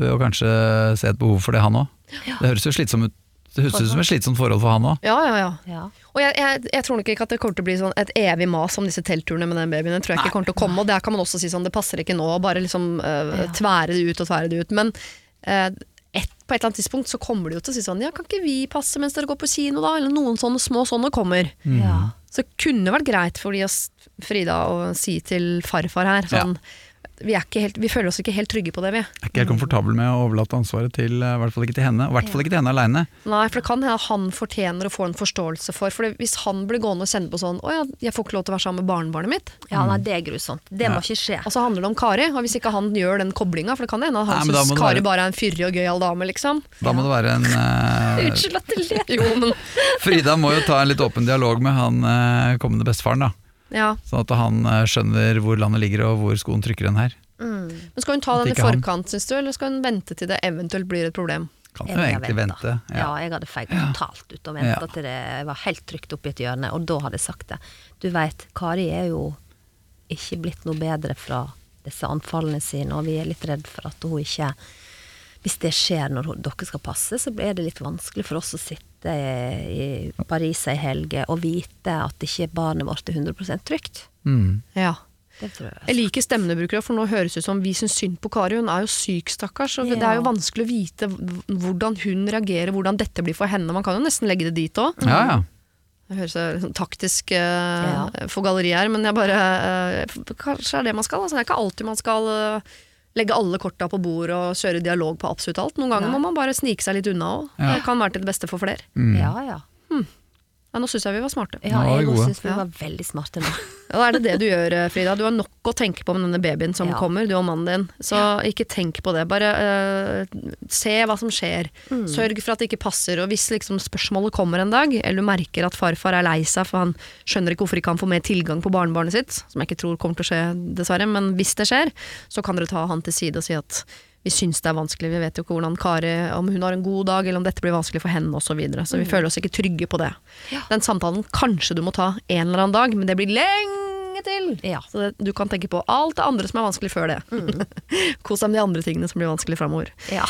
A: bør jo kanskje se et behov for det, han òg. Det høres jo slitsomt ut. Det høres ut som et slitsomt forhold for han òg.
C: Ja, ja, ja.
B: Ja.
C: Og jeg, jeg, jeg tror nok ikke at det kommer til å bli sånn et evig mas om disse teltturene med den babyen. Det tror jeg ikke kommer til å komme, og der kan man også si sånn, det passer ikke nå, bare liksom øh,
B: Ja.
C: tvære det ut og tvære det ut. Men øh, et, på et eller annet tidspunkt så kommer de jo til å si sånn, ja, kan ikke vi passe mens dere går på kino da? Eller noen sånne små sånne kommer.
A: Mm.
B: Ja.
C: Så det kunne vært greit for de å s- Frida å si til farfar her, sånn, vi, er ikke helt, vi føler oss ikke helt trygge på det, vi.
A: Jeg er ikke helt komfortabel med å overlate ansvaret til eh, i hvert fall ikke til henne. Og i hvert fall ikke til henne aleine.
C: Nei, for det kan hende han fortjener å få en forståelse for For det- hvis han blir gående og kjenne på sånn 'Å ja, jeg får ikke lov til å være sammen med barnebarnet mitt',
B: Ja,
A: Mm.
B: nei, det er grusomt. Det må ikke skje.
C: og så handler det om Kari. Og hvis ikke han gjør den koblinga, for det kan hende at han
A: Nei, men da må
C: syns
A: det
C: Kari
A: være-
C: bare er en fyrig og gøyal dame, liksom.
A: Da må det være en
C: *laughs*
A: eh,
B: Unnskyld at jeg ler.
C: Jo, men
A: Frida må jo ta en litt åpen dialog med han eh, kommende bestefaren, da.
C: Ja.
A: Sånn at han eh, skjønner hvor landet ligger og hvor skoen trykker en her.
C: Men skal hun ta
A: At
C: den i
A: ikke han-
C: forkant, syns du, eller skal hun vente til det eventuelt blir et problem?
A: Kan
B: Jeg
A: jo
B: ville
A: egentlig
B: ventet.
A: vente.
B: Ja.
A: Ja.
B: jeg hadde feiget totalt ut og venta
A: Ja.
B: til det var helt trygt opp i et hjørne, og da hadde jeg sagt det. Du veit, Kari er jo ikke blitt noe bedre fra disse anfallene sine, og vi er litt redd for at hun ikke Hvis det skjer når hun, dere skal passe, så blir det litt vanskelig for oss å sitte i Paris ei helg og vite at ikke barnet vårt er 100 trygt.
A: Mm.
C: Ja.
B: Det tror jeg.
C: Jeg liker stemmen du bruker, for nå høres det ut som vi syns synd på Kari. Hun er jo syk, stakkars. Og Det
B: Ja.
C: er jo vanskelig å vite hv- hvordan hun reagerer, hvordan dette blir for henne. Man kan jo nesten legge det dit òg.
A: ja, ja.
C: Det høres jo sånn taktisk eh, for galleriet her, men jeg bare eh, f- Kanskje det er det man skal. Altså, det er ikke alltid man skal eh, legge alle korta på bord og kjøre dialog på absolutt alt. Noen ganger
B: Nei.
C: må man bare snike seg litt unna òg.
A: Ja.
C: Det kan være til det beste for flere.
B: Ja, ja.
C: Ja, nå syns jeg vi var smarte.
B: ja
A: Mm. Nå er vi
B: jeg
A: gode.
B: syns vi
C: Ja.
B: var veldig smarte nå.
C: Ja, er det det du gjør, eh, Frida? Du har nok å tenke på med denne babyen som
B: Ja.
C: kommer, du og mannen din. Så ikke tenk på det. Bare eh, se hva som skjer. Sørg for at det ikke passer. Og hvis liksom spørsmålet kommer en dag, eller du merker at farfar er lei seg for han skjønner ikke hvorfor ikke han får mer tilgang på barnebarnet sitt, som jeg ikke tror kommer til å skje, dessverre, men hvis det skjer, så kan dere ta han til side og si at vi syns det er vanskelig, vi vet jo ikke hvordan Kari, om hun har en god dag, eller om dette blir vanskelig for henne osv. Så, videre. så vi føler oss ikke trygge på det. Den samtalen kanskje du må ta en eller annen dag, men det blir lenge til.
B: Ja.
C: Så det, du kan tenke på alt det andre som er vanskelig før det. *laughs* Kos deg med de andre tingene som blir vanskelig framover. *laughs*
B: Ja.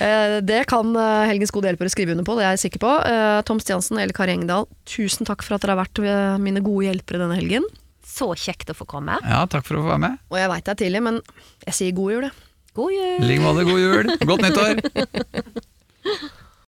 C: Eh, Det kan eh, Helgens gode hjelpere skrive under på, det er jeg sikker på. Eh, Tom Stiansen eller Kari Engdahl, tusen takk for at dere har vært eh, mine gode hjelpere denne helgen.
B: Så kjekt å få komme.
A: ja, takk for å få være med.
C: Og jeg veit det er tidlig, men jeg sier god jul, jeg.
B: God
A: I
B: jul!
A: like måte, god jul. Godt nyttår!